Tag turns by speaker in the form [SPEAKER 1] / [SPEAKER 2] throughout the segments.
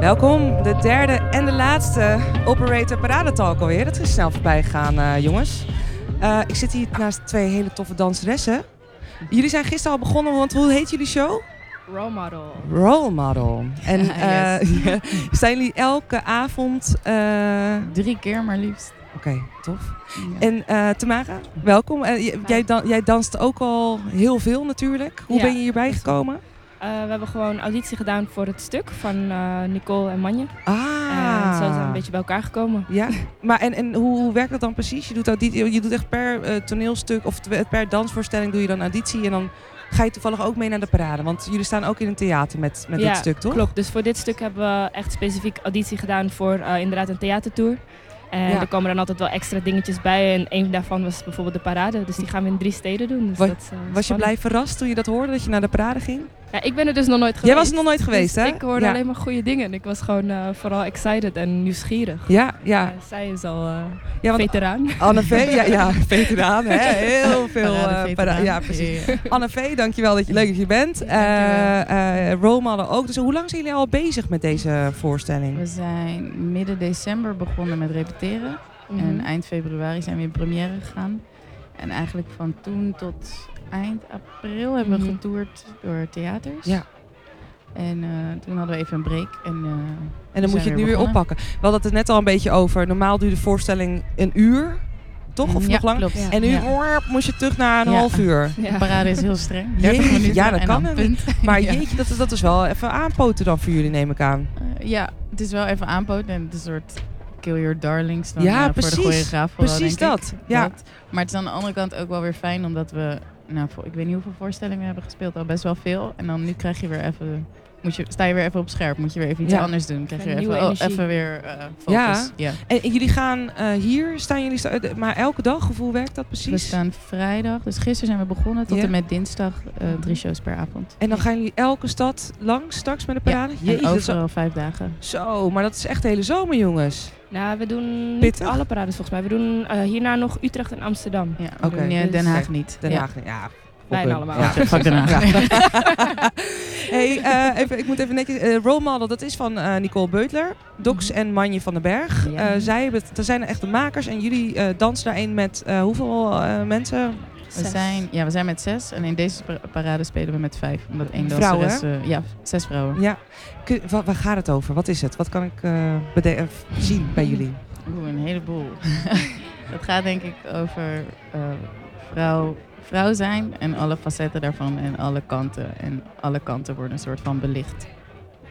[SPEAKER 1] Welkom, de derde en de laatste Operator Parade Talk alweer. Dat is snel voorbij gegaan, eh, jongens. Eh, ik zit hier naast twee hele toffe danseressen. Jullie zijn gisteren al begonnen, want hoe heet jullie show?
[SPEAKER 2] Role model.
[SPEAKER 1] Role Model. En
[SPEAKER 2] Ja,
[SPEAKER 1] eh, zijn jullie elke avond... eh,
[SPEAKER 2] Drie keer maar liefst.
[SPEAKER 1] Oké, tof. En eh, Tamara, welkom. En j- jij, dan, jij danst ook al heel veel natuurlijk. Hoe
[SPEAKER 2] Ja,
[SPEAKER 1] ben je hierbij
[SPEAKER 2] dat is
[SPEAKER 1] gekomen?
[SPEAKER 2] Eh, we hebben gewoon auditie gedaan voor het stuk van eh, Nicole en Manje.
[SPEAKER 1] Ah.
[SPEAKER 2] En zo zijn we een beetje bij elkaar gekomen.
[SPEAKER 1] Ja, maar en, en hoe, hoe werkt dat dan precies? Je doet, auditie, je doet echt per eh, toneelstuk of twe- per dansvoorstelling doe je dan auditie. En dan ga je toevallig ook mee naar de parade. Want jullie staan ook in het theater met, met
[SPEAKER 2] Ja,
[SPEAKER 1] dit stuk, toch?
[SPEAKER 2] Klopt, dus voor dit stuk hebben we echt specifiek auditie gedaan voor eh, inderdaad een theatertour. En
[SPEAKER 1] Ja.
[SPEAKER 2] er komen dan altijd wel extra dingetjes bij. En een daarvan was bijvoorbeeld de parade. Dus die gaan we in drie steden doen. Dus
[SPEAKER 1] Wa-
[SPEAKER 2] dat, is, eh,
[SPEAKER 1] Was je
[SPEAKER 2] spannend.
[SPEAKER 1] blij verrast toen je dat hoorde, dat je naar de parade ging?
[SPEAKER 2] Ja, ik ben er dus nog nooit geweest.
[SPEAKER 1] Jij was er nog nooit geweest,
[SPEAKER 2] Dus
[SPEAKER 1] hè?
[SPEAKER 2] Ik hoorde
[SPEAKER 1] ja.
[SPEAKER 2] alleen maar goede dingen. En ik was gewoon eh, vooral excited en nieuwsgierig.
[SPEAKER 1] Ja, ja.
[SPEAKER 2] Eh, zij is al eh,
[SPEAKER 1] ja, want
[SPEAKER 2] veteraan.
[SPEAKER 1] Anne V, ja, ja, veteraan, hè? Heel veel. eh,
[SPEAKER 3] Parade,
[SPEAKER 1] para-
[SPEAKER 3] veteraan.
[SPEAKER 1] ja, precies. Anne V, dankjewel dat je leuk dat je bent. Eh eh, role model ook. Dus hoe lang zijn jullie al bezig met deze voorstelling?
[SPEAKER 3] We zijn midden december begonnen met repeteren.
[SPEAKER 1] Mhm.
[SPEAKER 2] Mhm.
[SPEAKER 3] En
[SPEAKER 1] eh,
[SPEAKER 3] eind februari zijn we in première gegaan. En eigenlijk van toen tot eind april hebben we
[SPEAKER 2] Mhm.
[SPEAKER 3] getoerd door theaters.
[SPEAKER 1] Ja.
[SPEAKER 3] En eh, toen hadden we even een break. En, eh,
[SPEAKER 1] En dan
[SPEAKER 3] We
[SPEAKER 1] moet je het
[SPEAKER 3] zijn
[SPEAKER 1] nu
[SPEAKER 3] weer
[SPEAKER 1] weer
[SPEAKER 3] begonnen.
[SPEAKER 1] oppakken. We hadden het er net al een beetje over. Normaal duurde de voorstelling een uur, toch? Of
[SPEAKER 3] Mm, ja,
[SPEAKER 1] nog langer?
[SPEAKER 3] Klopt.
[SPEAKER 1] En nu Oh.
[SPEAKER 3] Ja.
[SPEAKER 1] worp, moest je terug naar een
[SPEAKER 3] Ja.
[SPEAKER 1] half uur.
[SPEAKER 3] De parade is heel streng. 30
[SPEAKER 1] Jeetje,
[SPEAKER 3] minuten.
[SPEAKER 1] ja, dat
[SPEAKER 3] en
[SPEAKER 1] kan
[SPEAKER 3] dan
[SPEAKER 1] het
[SPEAKER 3] punt.
[SPEAKER 1] Maar
[SPEAKER 3] Ja.
[SPEAKER 1] jeetje, dat, is- dat is wel even aanpoten dan voor jullie, neem ik aan.
[SPEAKER 3] Eh, ja, het is wel even aanpoten. En het is een soort kill your darlings dan,
[SPEAKER 1] Ja,
[SPEAKER 3] eh,
[SPEAKER 1] precies.
[SPEAKER 3] voor de choreograaf. vooral,
[SPEAKER 1] Precies
[SPEAKER 3] denk ik.
[SPEAKER 1] dat. Ja.
[SPEAKER 3] Dat. Maar het is aan de andere kant ook wel weer fijn, omdat we, nou, voor- ik weet niet hoeveel voorstellingen we hebben gespeeld, al best wel veel. En dan nu krijg je weer even, moet je, sta je weer even op scherp, moet je weer even iets
[SPEAKER 1] Ja.
[SPEAKER 3] anders doen. Krijg je
[SPEAKER 2] Een
[SPEAKER 3] weer even,
[SPEAKER 2] nieuwe
[SPEAKER 3] oh,
[SPEAKER 2] energie.
[SPEAKER 3] even weer eh, focus.
[SPEAKER 1] Ja.
[SPEAKER 3] Ja.
[SPEAKER 1] En, en jullie gaan eh, hier, staan jullie, sta- eh, maar elke dag? Of hoe werkt dat
[SPEAKER 3] We
[SPEAKER 1] precies?
[SPEAKER 3] staan vrijdag, dus gisteren zijn we begonnen tot
[SPEAKER 1] Ja.
[SPEAKER 3] en met dinsdag eh, drie shows per avond.
[SPEAKER 1] En dan gaan jullie elke stad langs straks met de
[SPEAKER 3] Ja,
[SPEAKER 1] parade?
[SPEAKER 3] en
[SPEAKER 1] Jeetje, dat is-
[SPEAKER 3] overal vijf dagen.
[SPEAKER 1] Zo, maar dat is echt de hele zomer, jongens.
[SPEAKER 2] Nou, we doen niet
[SPEAKER 1] Pittig.
[SPEAKER 2] alle parades volgens mij. We doen eh, hierna nog Utrecht en Amsterdam.
[SPEAKER 3] Ja, we
[SPEAKER 1] Oké.
[SPEAKER 3] doen, eh,
[SPEAKER 2] Dus-
[SPEAKER 3] Den Haag niet.
[SPEAKER 1] Den
[SPEAKER 3] Ja.
[SPEAKER 1] Haag, ja.
[SPEAKER 2] Bijna
[SPEAKER 1] Oké.
[SPEAKER 2] allemaal.
[SPEAKER 1] Ja.
[SPEAKER 3] Ja, fuck Den Haag.
[SPEAKER 1] Ja. hey, eh, even, ik moet even netjes. eh, role model, dat is van eh, Nicole Beutler, Docs en Manje van den Berg.
[SPEAKER 3] Ja.
[SPEAKER 1] Eh, zij hebben, het- dat zijn echt de makers en jullie eh, dansen daarin met eh, hoeveel eh, mensen?
[SPEAKER 3] We zijn, ja, we zijn met zes en in deze par- parade spelen we met vijf. Omdat één
[SPEAKER 1] Vrouwen,
[SPEAKER 3] danseres... eh, ja, zes vrouwen.
[SPEAKER 1] Ja. Kun- wa- waar gaat het over? Wat is het? Wat kan ik eh, bede- eh, zien
[SPEAKER 3] Mm.
[SPEAKER 1] bij jullie?
[SPEAKER 3] Oeh, een heleboel. dat gaat denk ik over eh, vrouw, vrouw zijn en alle facetten daarvan en alle kanten. En alle kanten worden een soort van belicht.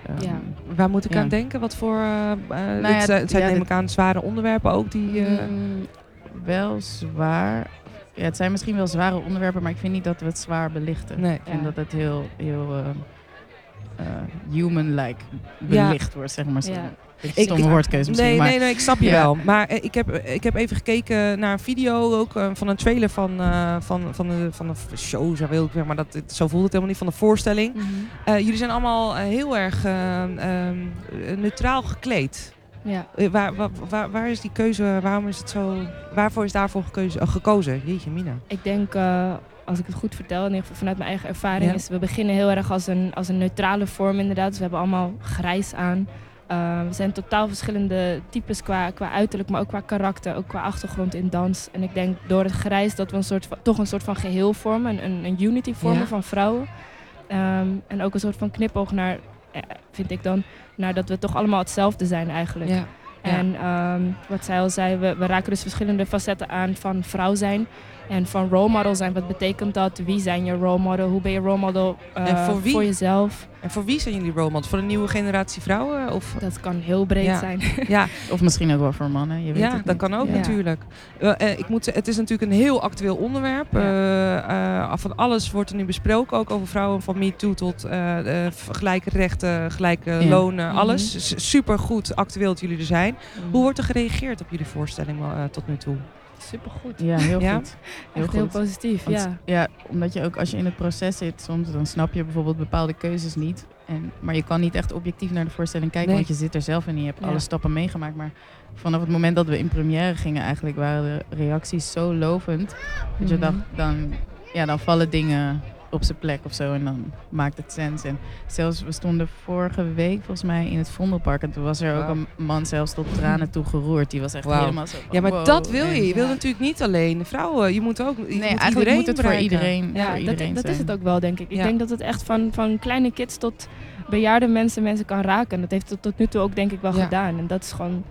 [SPEAKER 3] Ehm,
[SPEAKER 2] Ja.
[SPEAKER 1] Waar moet ik
[SPEAKER 3] Ja. Nou
[SPEAKER 1] aan denken? Wat voor. eh, eh, dit
[SPEAKER 3] ja,
[SPEAKER 1] zijn, het zijn
[SPEAKER 3] ja,
[SPEAKER 1] neem
[SPEAKER 3] dit-
[SPEAKER 1] ik aan zware onderwerpen ook die. eh,
[SPEAKER 3] mm, wel zwaar. Ja, het zijn misschien wel zware onderwerpen, maar ik vind niet dat we het zwaar belichten.
[SPEAKER 1] nee.
[SPEAKER 3] En
[SPEAKER 2] Ja.
[SPEAKER 3] dat het heel, heel eh, eh, human-like belicht wordt, zeg maar. Zo.
[SPEAKER 2] Ja.
[SPEAKER 3] Beetje Stomme
[SPEAKER 1] ik-
[SPEAKER 3] woordkeuze misschien,
[SPEAKER 1] Nee,
[SPEAKER 3] maar
[SPEAKER 1] nee, nee, ik snap je
[SPEAKER 3] Ja.
[SPEAKER 1] wel. Maar eh, ik heb, eh, ik heb even gekeken naar een video ook eh, van een trailer van, eh, van, van, de, van de show, zo wil ik zeggen, maar dat, het- zo voelt het helemaal niet, van de voorstelling.
[SPEAKER 2] Mhm.
[SPEAKER 1] Eh, jullie zijn allemaal eh, heel erg eh, ehm, eh, neutraal gekleed.
[SPEAKER 2] Ja.
[SPEAKER 1] Eh, waar, waar, waar, waar is die keuze, waarom is het zo, waarvoor is daarvoor gekozen? oh, gekozen? Jeetje mina.
[SPEAKER 2] Ik denk, eh, als ik het goed vertel, in ieder geval vanuit mijn eigen ervaring,
[SPEAKER 1] Ja.
[SPEAKER 2] is we beginnen heel erg als een, als een neutrale vorm inderdaad. Dus we hebben allemaal grijs aan. Eh, we zijn totaal verschillende types qua, qua uiterlijk, maar ook qua karakter, ook qua achtergrond in dans. En ik denk door het grijs dat we een soort van, toch een soort van geheel vormen, een, een, een unity vormen
[SPEAKER 1] Ja.
[SPEAKER 2] van vrouwen. Ehm, en ook een soort van knipoog naar, eh, vind ik dan, naar dat we toch allemaal hetzelfde zijn eigenlijk.
[SPEAKER 1] Ja. Ja.
[SPEAKER 2] En ehm, wat zij al zei, we, we raken dus verschillende facetten aan van vrouw zijn en van role model zijn. Wat betekent dat? Wie zijn je role model? Hoe ben je role model eh,
[SPEAKER 1] En voor wie?
[SPEAKER 2] jezelf?
[SPEAKER 1] En voor wie zijn jullie role models? Voor een nieuwe generatie vrouwen? Of,
[SPEAKER 2] Dat kan heel breed
[SPEAKER 1] Ja.
[SPEAKER 2] zijn.
[SPEAKER 1] ja,
[SPEAKER 3] Of misschien ook wel voor mannen. Je weet
[SPEAKER 1] Ja,
[SPEAKER 3] het
[SPEAKER 1] dat
[SPEAKER 3] niet.
[SPEAKER 1] kan ook
[SPEAKER 3] Ja.
[SPEAKER 1] natuurlijk. Wel, eh, ik moet, zeggen, het is natuurlijk een heel actueel onderwerp.
[SPEAKER 2] Ja.
[SPEAKER 1] Eh, eh, van alles wordt er nu besproken, ook over vrouwen van MeToo tot eh, eh, v- gelijke rechten, gelijke
[SPEAKER 3] Ja.
[SPEAKER 1] lonen,
[SPEAKER 2] Mhm.
[SPEAKER 1] alles. Super goed actueel dat jullie er zijn. Hoe wordt er gereageerd op jullie voorstelling eh, tot nu toe?
[SPEAKER 2] Supergoed.
[SPEAKER 3] Ja, heel
[SPEAKER 1] Ja?
[SPEAKER 3] goed. Heel
[SPEAKER 2] Echt heel
[SPEAKER 3] goed.
[SPEAKER 2] positief,
[SPEAKER 3] Want,
[SPEAKER 2] ja.
[SPEAKER 3] omdat je ook als je in het proces zit, soms dan snap je bijvoorbeeld bepaalde keuzes niet. En, maar je kan niet echt objectief naar de voorstelling kijken,
[SPEAKER 1] Nee.
[SPEAKER 3] want je zit er zelf in en je hebt
[SPEAKER 2] Ja.
[SPEAKER 3] alle stappen meegemaakt. Maar vanaf het moment dat we in première gingen, eigenlijk waren de reacties zo lovend. Dat je
[SPEAKER 2] Mhm.
[SPEAKER 3] dacht, dan, ja, dan vallen dingen op zijn plek of zo. En dan maakt het sens. En zelfs, we stonden vorige week volgens mij in het Vondelpark. En toen was er ook
[SPEAKER 1] Wauw.
[SPEAKER 3] een man zelfs tot tranen toe geroerd. Die was echt
[SPEAKER 1] Wauw.
[SPEAKER 3] helemaal zo van,
[SPEAKER 1] Ja, maar
[SPEAKER 3] wow.
[SPEAKER 1] dat wil je.
[SPEAKER 3] En-
[SPEAKER 1] Je wil
[SPEAKER 3] ja.
[SPEAKER 1] natuurlijk niet alleen de vrouwen. Je moet ook. Je
[SPEAKER 3] Nee,
[SPEAKER 1] moet
[SPEAKER 3] eigenlijk
[SPEAKER 1] iedereen
[SPEAKER 3] moet het voor
[SPEAKER 1] bereiken.
[SPEAKER 3] iedereen,
[SPEAKER 2] Ja,
[SPEAKER 3] voor iedereen
[SPEAKER 2] dat, dat is
[SPEAKER 3] zijn.
[SPEAKER 2] het ook wel, denk ik. Ik
[SPEAKER 1] Ja.
[SPEAKER 2] denk dat het echt van, van kleine kids tot bejaarde mensen mensen kan raken. En dat heeft het tot nu toe ook denk ik wel
[SPEAKER 1] Ja.
[SPEAKER 2] gedaan. En dat is gewoon,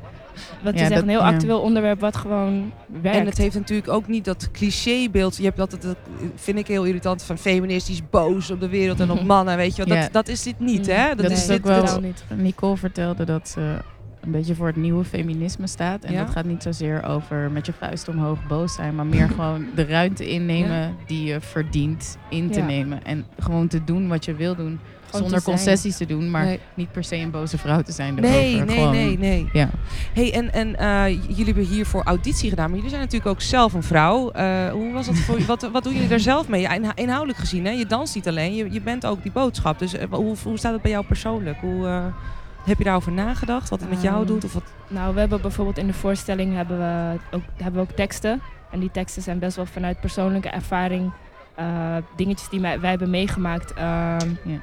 [SPEAKER 2] wat je
[SPEAKER 3] Ja,
[SPEAKER 2] zegt,
[SPEAKER 3] dat-
[SPEAKER 2] een heel
[SPEAKER 3] ja.
[SPEAKER 2] actueel onderwerp wat gewoon werkt.
[SPEAKER 1] En het heeft natuurlijk ook niet dat clichébeeld. Je hebt altijd, dat vind ik heel irritant, van feministisch boos op de wereld en op mannen. Weet je wel. Dat,
[SPEAKER 3] Ja.
[SPEAKER 1] dat is dit niet, hè?
[SPEAKER 2] Mm,
[SPEAKER 1] Dat,
[SPEAKER 3] dat
[SPEAKER 1] is
[SPEAKER 3] is
[SPEAKER 1] dit,
[SPEAKER 3] ook wel-
[SPEAKER 1] dat is-
[SPEAKER 2] totaal niet.
[SPEAKER 3] Nicole vertelde dat ze een beetje voor het nieuwe feminisme staat. En
[SPEAKER 1] Ja.
[SPEAKER 3] dat gaat niet zozeer over met je vuist omhoog boos zijn, maar meer gewoon de ruimte innemen die je verdient in te
[SPEAKER 2] Ja.
[SPEAKER 3] nemen. En gewoon te doen wat je wil doen,
[SPEAKER 2] te
[SPEAKER 3] zonder
[SPEAKER 2] zijn.
[SPEAKER 3] concessies te doen, maar
[SPEAKER 1] nee,
[SPEAKER 3] niet per se een boze vrouw te zijn.
[SPEAKER 1] nee,
[SPEAKER 3] daarover.
[SPEAKER 1] nee,
[SPEAKER 3] Gewoon-
[SPEAKER 1] nee, nee.
[SPEAKER 3] Ja.
[SPEAKER 1] Hey, en, en eh, j- jullie hebben hiervoor auditie gedaan, maar jullie zijn natuurlijk ook zelf een vrouw. Eh, hoe was dat voor wat, wat doen jullie daar zelf mee? Ja, inha- inhoudelijk gezien, hè? je danst niet alleen, je, je bent ook die boodschap. Dus eh, hoe, hoe staat het bij jou persoonlijk? Hoe, eh, heb je daarover nagedacht? Wat het met jou
[SPEAKER 2] Ehm,
[SPEAKER 1] doet? Of wat,
[SPEAKER 2] Nou, we hebben bijvoorbeeld in de voorstelling hebben we ook, hebben we ook teksten. En die teksten zijn best wel vanuit persoonlijke ervaring. eh, dingetjes die mij- wij hebben meegemaakt. Ehm,
[SPEAKER 3] Ja.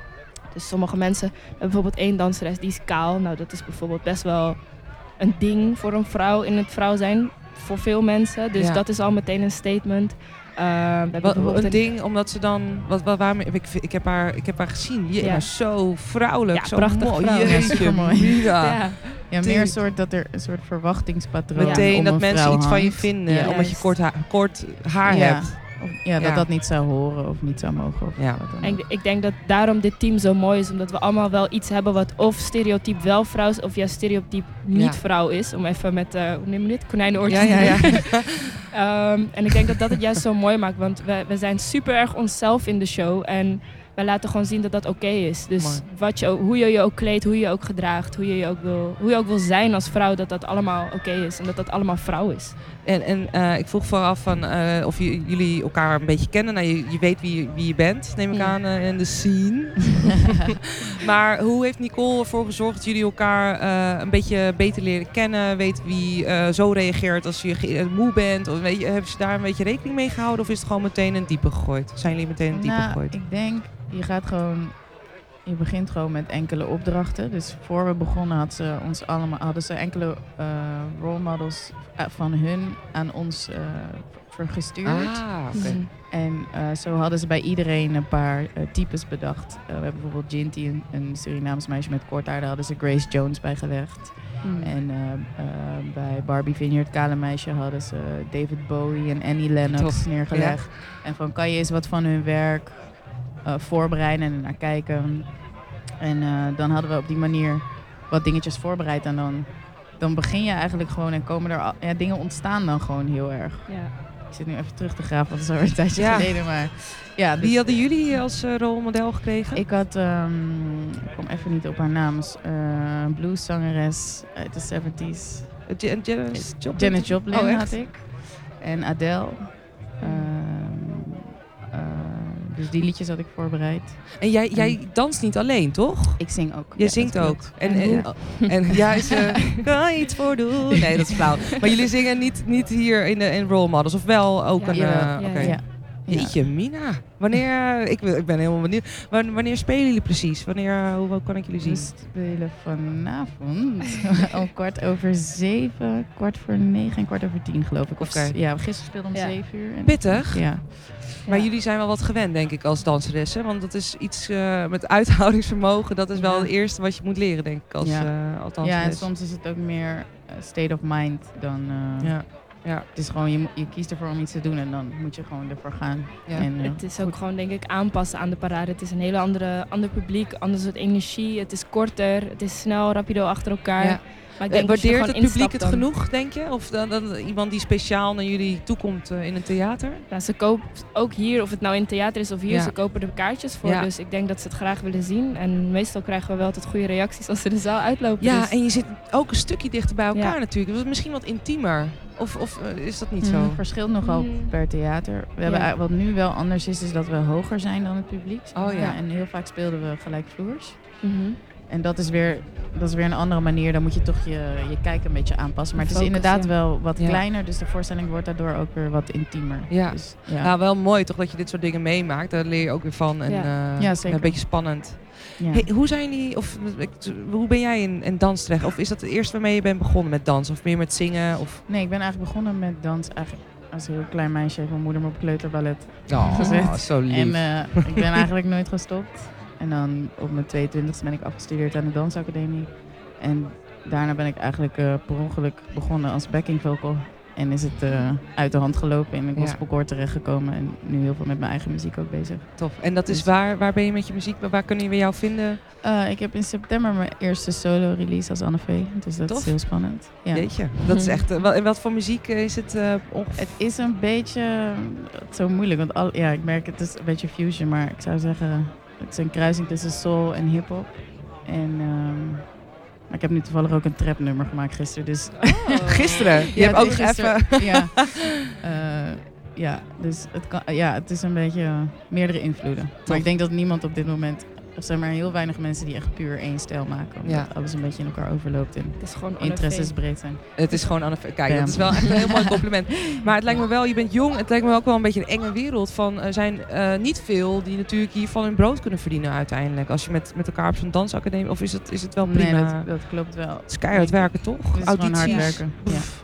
[SPEAKER 2] Dus sommige mensen, we hebben bijvoorbeeld één danseres die is kaal. Nou, dat is bijvoorbeeld best wel een ding voor een vrouw in het vrouw zijn. Voor veel mensen. Dus
[SPEAKER 1] Ja.
[SPEAKER 2] dat is al meteen een statement. Eh, we hebben
[SPEAKER 1] Wat,
[SPEAKER 2] bijvoorbeeld
[SPEAKER 1] een ding, omdat ze dan. Wat, wat, waarom, ik, ik, heb haar, ik heb haar gezien. Je,
[SPEAKER 2] Ja.
[SPEAKER 1] maar zo vrouwelijk.
[SPEAKER 2] Ja,
[SPEAKER 1] zo
[SPEAKER 2] prachtig
[SPEAKER 1] mooi.
[SPEAKER 2] vrouw. Ja,
[SPEAKER 1] Jeetje,
[SPEAKER 3] supermooi.
[SPEAKER 1] Mina.
[SPEAKER 2] Ja.
[SPEAKER 3] Ja,
[SPEAKER 1] Tuurlijk.
[SPEAKER 3] meer een soort dat er een soort verwachtingspatroon
[SPEAKER 1] Meteen
[SPEAKER 3] om
[SPEAKER 1] dat
[SPEAKER 3] een
[SPEAKER 1] mensen
[SPEAKER 3] vrouw
[SPEAKER 1] iets van je
[SPEAKER 3] hangt.
[SPEAKER 1] vinden.
[SPEAKER 3] Ja.
[SPEAKER 1] Omdat je
[SPEAKER 2] Juist.
[SPEAKER 1] kort haar, kort haar
[SPEAKER 3] Ja.
[SPEAKER 1] hebt.
[SPEAKER 3] Of- ja, dat
[SPEAKER 1] Ja.
[SPEAKER 3] dat niet zou horen of niet zou mogen. Of
[SPEAKER 1] Ja.
[SPEAKER 3] wat dan ook.
[SPEAKER 2] En ik, ik denk dat daarom dit team zo mooi is. Omdat we allemaal wel iets hebben wat of stereotyp wel vrouw is, of juist stereotyp niet
[SPEAKER 1] Ja.
[SPEAKER 2] vrouw is. Om even met, eh hoe noem je dit? Konijnenoortjes
[SPEAKER 1] Ja,
[SPEAKER 2] te
[SPEAKER 1] ja, ja.
[SPEAKER 2] doen. Ehm, en ik denk dat dat het juist zo mooi maakt. Want we, we zijn super erg onszelf in de show. En we laten gewoon zien dat dat oké is. Dus
[SPEAKER 1] Mooi.
[SPEAKER 2] wat je, ook- hoe je je ook kleedt, hoe je je ook gedraagt, hoe je, je ook, wil, hoe je ook wil zijn als vrouw, dat dat allemaal oké is. En dat dat allemaal vrouw is.
[SPEAKER 1] En, en eh, ik vroeg vooraf van, eh, of j- jullie elkaar een beetje kennen. Nou, je, je weet wie, wie je bent, neem ik
[SPEAKER 2] Ja.
[SPEAKER 1] aan, eh, in de scene. maar hoe heeft Nicole ervoor gezorgd dat jullie elkaar eh, een beetje beter leren kennen? Weet wie eh, zo reageert als je ge- eh, moe bent? Of weet je, hebben ze daar een beetje rekening mee gehouden? Of is het gewoon meteen een diepe gegooid? Zijn jullie meteen een diepe
[SPEAKER 3] Nou,
[SPEAKER 1] gegooid?
[SPEAKER 3] Ik denk, je gaat gewoon. Je begint gewoon met enkele opdrachten. Dus voor we begonnen had ze ons allemaal, hadden ze enkele eh role models eh, van hun aan ons eh, ver- vergestuurd.
[SPEAKER 1] Ah, oké.
[SPEAKER 2] Mhm.
[SPEAKER 3] En eh, zo hadden ze bij iedereen een paar eh, types bedacht. Eh, we hebben bijvoorbeeld Jinty, een, een Surinaams meisje met kort haar. Daar hadden ze Grace Jones bij gelegd.
[SPEAKER 2] Mm.
[SPEAKER 3] En eh, eh, bij Barbie Vineyard, kale meisje, hadden ze David Bowie en Annie Lennox
[SPEAKER 1] Tof,
[SPEAKER 3] neergelegd. En van kan je eens wat van hun werk eh, voorbereiden en naar kijken. En eh, dan hadden we op die manier wat dingetjes voorbereid. En dan, dan begin je eigenlijk gewoon en komen er... al- Ja, dingen ontstaan dan gewoon heel erg.
[SPEAKER 2] Ja.
[SPEAKER 3] Ik zit nu even terug te graven, want dat is alweer een tijdje
[SPEAKER 1] Ja.
[SPEAKER 3] geleden. Maar ja, dus
[SPEAKER 1] Wie hadden jullie als eh, rolmodel gekregen?
[SPEAKER 3] ik had, ehm, ik kom even niet op haar naam, is, eh, een blueszangeres uit de 70s.
[SPEAKER 1] Eh, Ja- Janis Joplin?
[SPEAKER 3] Janet Joplin
[SPEAKER 1] Oh, echt?
[SPEAKER 3] had ik. En Adele. Ehm, eh, dus die liedjes had ik voorbereid.
[SPEAKER 1] En jij, jij danst niet alleen, toch?
[SPEAKER 3] Ik zing ook.
[SPEAKER 1] Je
[SPEAKER 3] Ja,
[SPEAKER 1] zingt
[SPEAKER 3] dat
[SPEAKER 1] ook.
[SPEAKER 3] klopt.
[SPEAKER 1] En, en,
[SPEAKER 3] Ja.
[SPEAKER 1] en, ja, is, eh, kan je iets voor doen? Nee, dat is flauw. Maar jullie zingen niet, niet hier in, de, in Role Models, of wel ook
[SPEAKER 2] Ja,
[SPEAKER 1] een...
[SPEAKER 3] jawel.
[SPEAKER 1] eh,
[SPEAKER 2] Ja,
[SPEAKER 1] oké.
[SPEAKER 2] ja.
[SPEAKER 3] Ja. Ja.
[SPEAKER 1] Jeetje, Mina. Wanneer, eh, ik, wil- ik ben helemaal benieuwd. Wan- Wanneer spelen jullie precies? Wanneer, eh, hoe, hoe kan ik jullie zien?
[SPEAKER 3] Dus We spelen vanavond om kwart over zeven, kwart voor negen en kwart over tien geloof ik. Of,
[SPEAKER 1] Oké.
[SPEAKER 3] Ja, gisteren speelden om
[SPEAKER 2] Ja.
[SPEAKER 3] zeven uur. En
[SPEAKER 1] Pittig.
[SPEAKER 3] Ja.
[SPEAKER 1] Maar
[SPEAKER 2] Ja.
[SPEAKER 1] jullie zijn wel wat gewend, denk ik, als danseressen. Want dat is iets eh, met uithoudingsvermogen. Dat is wel
[SPEAKER 3] Ja.
[SPEAKER 1] het eerste wat je moet leren, denk ik, als,
[SPEAKER 3] Ja.
[SPEAKER 1] eh, als
[SPEAKER 3] ja, en
[SPEAKER 1] danseres.
[SPEAKER 3] soms is het ook meer eh, state of mind dan... eh,
[SPEAKER 1] Ja.
[SPEAKER 3] Het is gewoon, je, mo- je kiest ervoor om iets te doen en dan moet je gewoon ervoor gaan.
[SPEAKER 1] Ja.
[SPEAKER 3] En, eh,
[SPEAKER 2] Het is ook gewoon, denk ik, aanpassen aan de parade. Het is een hele andere, ander publiek, ander soort energie. Het is korter, het is snel, rapido achter elkaar.
[SPEAKER 1] Ja.
[SPEAKER 2] Maar ik
[SPEAKER 1] Eh,
[SPEAKER 2] denk als je er
[SPEAKER 1] Waardeert het
[SPEAKER 2] gewoon
[SPEAKER 1] publiek
[SPEAKER 2] instapt
[SPEAKER 1] het
[SPEAKER 2] dan-
[SPEAKER 1] genoeg, denk je? Of dan, dan iemand die speciaal naar jullie toekomt eh, in een theater?
[SPEAKER 2] Ja, ze koopt ook hier, of het nou in het theater is of hier,
[SPEAKER 1] Ja.
[SPEAKER 2] ze kopen er kaartjes voor.
[SPEAKER 1] Ja.
[SPEAKER 2] Dus ik denk dat ze het graag willen zien. En meestal krijgen we wel tot goede reacties als ze de zaal uitlopen.
[SPEAKER 1] Ja,
[SPEAKER 2] Dus-
[SPEAKER 1] en je zit ook een stukje dichter bij elkaar
[SPEAKER 2] Ja.
[SPEAKER 1] natuurlijk. Dus het is misschien wat intiemer. Of, of eh, is dat niet
[SPEAKER 3] Mm,
[SPEAKER 1] zo?
[SPEAKER 3] Het verschilt nogal
[SPEAKER 2] Mm.
[SPEAKER 3] per theater. We hebben,
[SPEAKER 2] Ja.
[SPEAKER 3] eigenlijk- wat nu wel anders is, is dat we hoger zijn dan het publiek. zeg
[SPEAKER 1] Oh
[SPEAKER 3] maar.
[SPEAKER 1] ja.
[SPEAKER 3] En heel vaak speelden we gelijk vloers.
[SPEAKER 2] Mhm.
[SPEAKER 3] En dat is weer, dat is weer een andere manier. Dan moet je toch je, je kijk een beetje aanpassen. Maar het is
[SPEAKER 2] Focus,
[SPEAKER 3] inderdaad
[SPEAKER 2] ja.
[SPEAKER 3] wel wat
[SPEAKER 1] Ja.
[SPEAKER 3] kleiner. Dus de voorstelling wordt daardoor ook weer wat intiemer.
[SPEAKER 1] Ja.
[SPEAKER 3] Dus, ja.
[SPEAKER 1] Nou, wel mooi toch dat je dit soort dingen meemaakt. Daar leer je ook weer van. En,
[SPEAKER 2] Ja.
[SPEAKER 1] eh,
[SPEAKER 3] Ja, zeker.
[SPEAKER 1] Een beetje spannend.
[SPEAKER 3] ja.
[SPEAKER 1] Hey, hoe zijn jullie, of eh, ik- hoe ben jij in, in dans terecht? Of is dat het eerste waarmee je bent begonnen met dans? Of meer met zingen? Of...
[SPEAKER 3] Nee, ik ben eigenlijk begonnen met dans eigenlijk als heel klein meisje. Heeft mijn moeder me op kleuterballet
[SPEAKER 1] Oh,
[SPEAKER 3] Gezet.
[SPEAKER 1] zo lief.
[SPEAKER 3] En eh, ik ben eigenlijk nooit gestopt. En dan op mijn 22e ben ik afgestudeerd aan de dansacademie. En daarna ben ik eigenlijk eh, per ongeluk begonnen als backing vocal. En is het eh, uit de hand gelopen in een
[SPEAKER 1] Ja.
[SPEAKER 3] gospelkoor terechtgekomen. En nu heel veel met mijn eigen muziek ook bezig.
[SPEAKER 1] Tof. En dat
[SPEAKER 3] dus-
[SPEAKER 1] is waar, waar ben je met je muziek? Waar kunnen we jou vinden?
[SPEAKER 3] Eh, ik heb in september mijn eerste solo release als Anne Vee. Dus dat
[SPEAKER 1] Tof.
[SPEAKER 3] is heel spannend. Ja.
[SPEAKER 1] Jeetje, dat is
[SPEAKER 2] Mhm.
[SPEAKER 1] echt... eh, wel- en wat voor muziek eh, is het eh, ongeveer?
[SPEAKER 3] Het is een beetje eh, zo moeilijk. Want al, ja, ik merk het is een beetje fusion, maar ik zou zeggen, het is een kruising tussen soul en hip-hop. En ehm, maar ik heb nu toevallig ook een trap nummer gemaakt gisteren. Dus
[SPEAKER 1] Oh. Gisteren. Je hebt ook nog even...
[SPEAKER 3] Ja, Eh, ja, dus het, kan, ja, het is een beetje eh, meerdere invloeden.
[SPEAKER 1] Tof.
[SPEAKER 3] Maar ik denk dat niemand op dit moment, of zijn maar heel weinig mensen die echt puur één stijl maken. Omdat
[SPEAKER 1] Ja. Oh,
[SPEAKER 3] alles een beetje in elkaar overloopt en
[SPEAKER 2] Het is gewoon
[SPEAKER 3] interesses
[SPEAKER 2] onafhankelijk.
[SPEAKER 3] breed zijn.
[SPEAKER 1] Het is gewoon aan de- Kijk, dat
[SPEAKER 3] Bam.
[SPEAKER 1] is wel echt een heel mooi compliment. Maar het lijkt me wel, je bent jong. Het lijkt me ook wel een beetje een enge wereld. Van, er zijn eh, niet veel die natuurlijk hiervan hun brood kunnen verdienen uiteindelijk. Als je met, met elkaar op zo'n dansacademie... Of is het, is het wel prima?
[SPEAKER 3] Nee, dat, dat klopt wel.
[SPEAKER 1] Het is keihard werken, toch?
[SPEAKER 3] Het is gewoon hard werken. Ja.
[SPEAKER 1] Pff,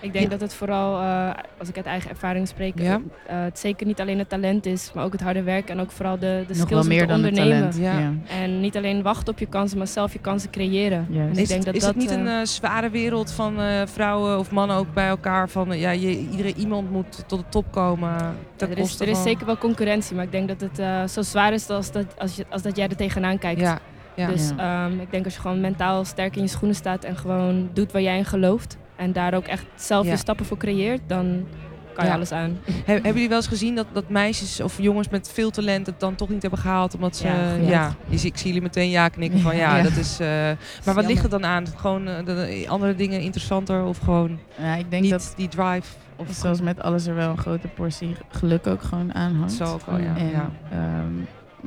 [SPEAKER 2] Ik denk
[SPEAKER 1] Ja.
[SPEAKER 2] dat het vooral, eh, als ik uit eigen ervaring spreek,
[SPEAKER 1] Ja.
[SPEAKER 2] eh, het zeker niet alleen het talent is, maar ook het harde werk en ook vooral de, de
[SPEAKER 3] Nog
[SPEAKER 2] skills
[SPEAKER 3] wel
[SPEAKER 2] om
[SPEAKER 3] meer
[SPEAKER 2] te
[SPEAKER 3] dan het
[SPEAKER 2] ondernemen.
[SPEAKER 3] talent.
[SPEAKER 1] Ja.
[SPEAKER 2] En niet alleen wachten op je kansen, maar zelf je kansen creëren.
[SPEAKER 3] Juist.
[SPEAKER 1] Is,
[SPEAKER 2] Dus ik
[SPEAKER 1] het,
[SPEAKER 2] denk dat
[SPEAKER 1] is
[SPEAKER 2] dat
[SPEAKER 1] het niet
[SPEAKER 2] eh,
[SPEAKER 1] een eh, zware wereld van eh, vrouwen of mannen ook bij elkaar? Van eh, ja, je, iedereen, iemand moet tot de top komen. Ten
[SPEAKER 2] er is,
[SPEAKER 1] koste
[SPEAKER 2] er is
[SPEAKER 1] van-
[SPEAKER 2] zeker wel concurrentie, maar ik denk dat het eh, zo zwaar is als dat, als, je, als dat jij er tegenaan kijkt.
[SPEAKER 1] Ja, ja.
[SPEAKER 2] Dus
[SPEAKER 3] Ja.
[SPEAKER 2] ehm, ik denk als je gewoon mentaal sterk in je schoenen staat en gewoon doet waar jij in gelooft en daar ook echt zelf
[SPEAKER 1] Ja.
[SPEAKER 2] je stappen voor creëert, dan kan je
[SPEAKER 1] Ja.
[SPEAKER 2] alles aan.
[SPEAKER 1] He- hebben jullie wel eens gezien dat, dat meisjes of jongens met veel talent het dan toch niet hebben gehaald? Omdat ze.
[SPEAKER 2] Ja,
[SPEAKER 1] Ja,
[SPEAKER 2] genoeg.
[SPEAKER 1] je ziet- ik zie jullie meteen ja knikken van ja,
[SPEAKER 3] Ja.
[SPEAKER 1] dat is. eh, maar wat
[SPEAKER 2] jammer.
[SPEAKER 1] ligt het dan aan? Gewoon eh, de- andere dingen interessanter of gewoon
[SPEAKER 3] Ja, ik denk
[SPEAKER 1] niet
[SPEAKER 3] dat
[SPEAKER 1] die drive? Of
[SPEAKER 3] zoals met alles er wel een grote portie geluk ook gewoon aan hangt.
[SPEAKER 1] Zo ook wel, ja.
[SPEAKER 3] En,
[SPEAKER 1] Ja.
[SPEAKER 3] ehm,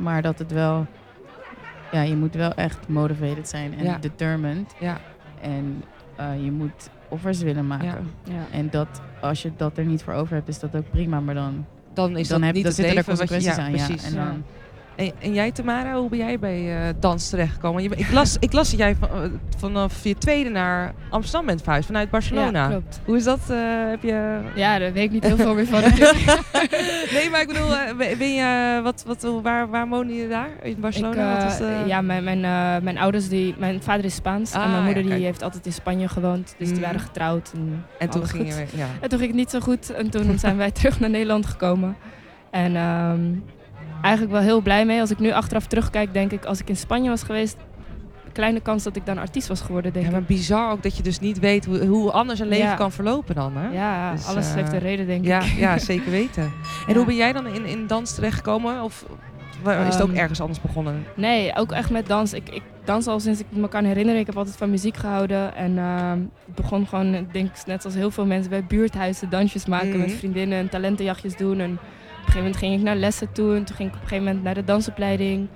[SPEAKER 3] maar dat het wel... Ja, je moet wel echt motivated zijn en
[SPEAKER 1] Ja.
[SPEAKER 3] determined.
[SPEAKER 1] Ja.
[SPEAKER 3] En eh, je moet offers willen maken.
[SPEAKER 1] Ja.
[SPEAKER 2] Ja.
[SPEAKER 3] En dat, als je dat er niet voor over hebt, is dat ook prima. Maar dan,
[SPEAKER 1] dan is
[SPEAKER 3] dan
[SPEAKER 1] dat
[SPEAKER 3] heb,
[SPEAKER 1] niet
[SPEAKER 3] dan
[SPEAKER 1] het
[SPEAKER 3] zitten er
[SPEAKER 1] leven wat je-
[SPEAKER 3] consequenties aan.
[SPEAKER 1] precies.
[SPEAKER 3] Ja. En dan,
[SPEAKER 1] En, en jij, Tamara, hoe ben jij bij eh, dans terechtgekomen? Je, bent- ik, las, ik las dat jij van- eh, vanaf je tweede naar Amsterdam bent verhuisd, vanuit Barcelona.
[SPEAKER 2] Ja, klopt.
[SPEAKER 1] hoe is dat? eh, heb je...
[SPEAKER 2] Ja, daar weet ik eh, niet heel veel meer van. natuurlijk.
[SPEAKER 1] nee, maar ik bedoel, eh, ben ben je, wat, wat, waar, waar woon je daar? In Barcelona?
[SPEAKER 2] Ik, eh,
[SPEAKER 1] Wat is, eh,
[SPEAKER 2] Ja, mijn, mijn, eh, mijn ouders, die, mijn vader is Spaans
[SPEAKER 1] Ah,
[SPEAKER 2] en mijn moeder
[SPEAKER 1] ja,
[SPEAKER 2] die
[SPEAKER 1] kijk.
[SPEAKER 2] heeft altijd in Spanje gewoond. Dus
[SPEAKER 1] Mm.
[SPEAKER 2] die waren getrouwd. En,
[SPEAKER 1] En toen
[SPEAKER 2] alles
[SPEAKER 1] ging
[SPEAKER 2] goed.
[SPEAKER 1] je weer- ja.
[SPEAKER 2] En toen ging het niet zo goed en toen zijn wij terug naar Nederland gekomen. En ehm, eigenlijk wel heel blij mee. Als ik nu achteraf terugkijk, denk ik, als ik in Spanje was geweest, kleine kans dat ik dan artiest was geworden, denk
[SPEAKER 1] ja, maar
[SPEAKER 2] ik.
[SPEAKER 1] bizar ook dat je dus niet weet hoe, hoe anders een leven
[SPEAKER 2] Ja.
[SPEAKER 1] kan verlopen dan, hè?
[SPEAKER 2] Ja,
[SPEAKER 1] Dus,
[SPEAKER 2] alles
[SPEAKER 1] eh,
[SPEAKER 2] heeft een reden, denk
[SPEAKER 1] ja,
[SPEAKER 2] ik.
[SPEAKER 1] ja, zeker weten. En
[SPEAKER 2] Ja.
[SPEAKER 1] hoe ben jij dan in, in dans terechtgekomen? Of waar- is het ook
[SPEAKER 2] Ehm,
[SPEAKER 1] ergens anders begonnen?
[SPEAKER 2] Nee, ook echt met dans. Ik, ik dans al sinds ik me kan herinneren. Ik heb altijd van muziek gehouden. En ehm het begon gewoon, ik denk net als heel veel mensen, bij buurthuizen dansjes maken
[SPEAKER 1] Mhm.
[SPEAKER 2] met vriendinnen en talentenjachtjes doen. En op een gegeven moment ging ik naar lessen toe en toen ging ik op een gegeven moment naar de dansopleiding.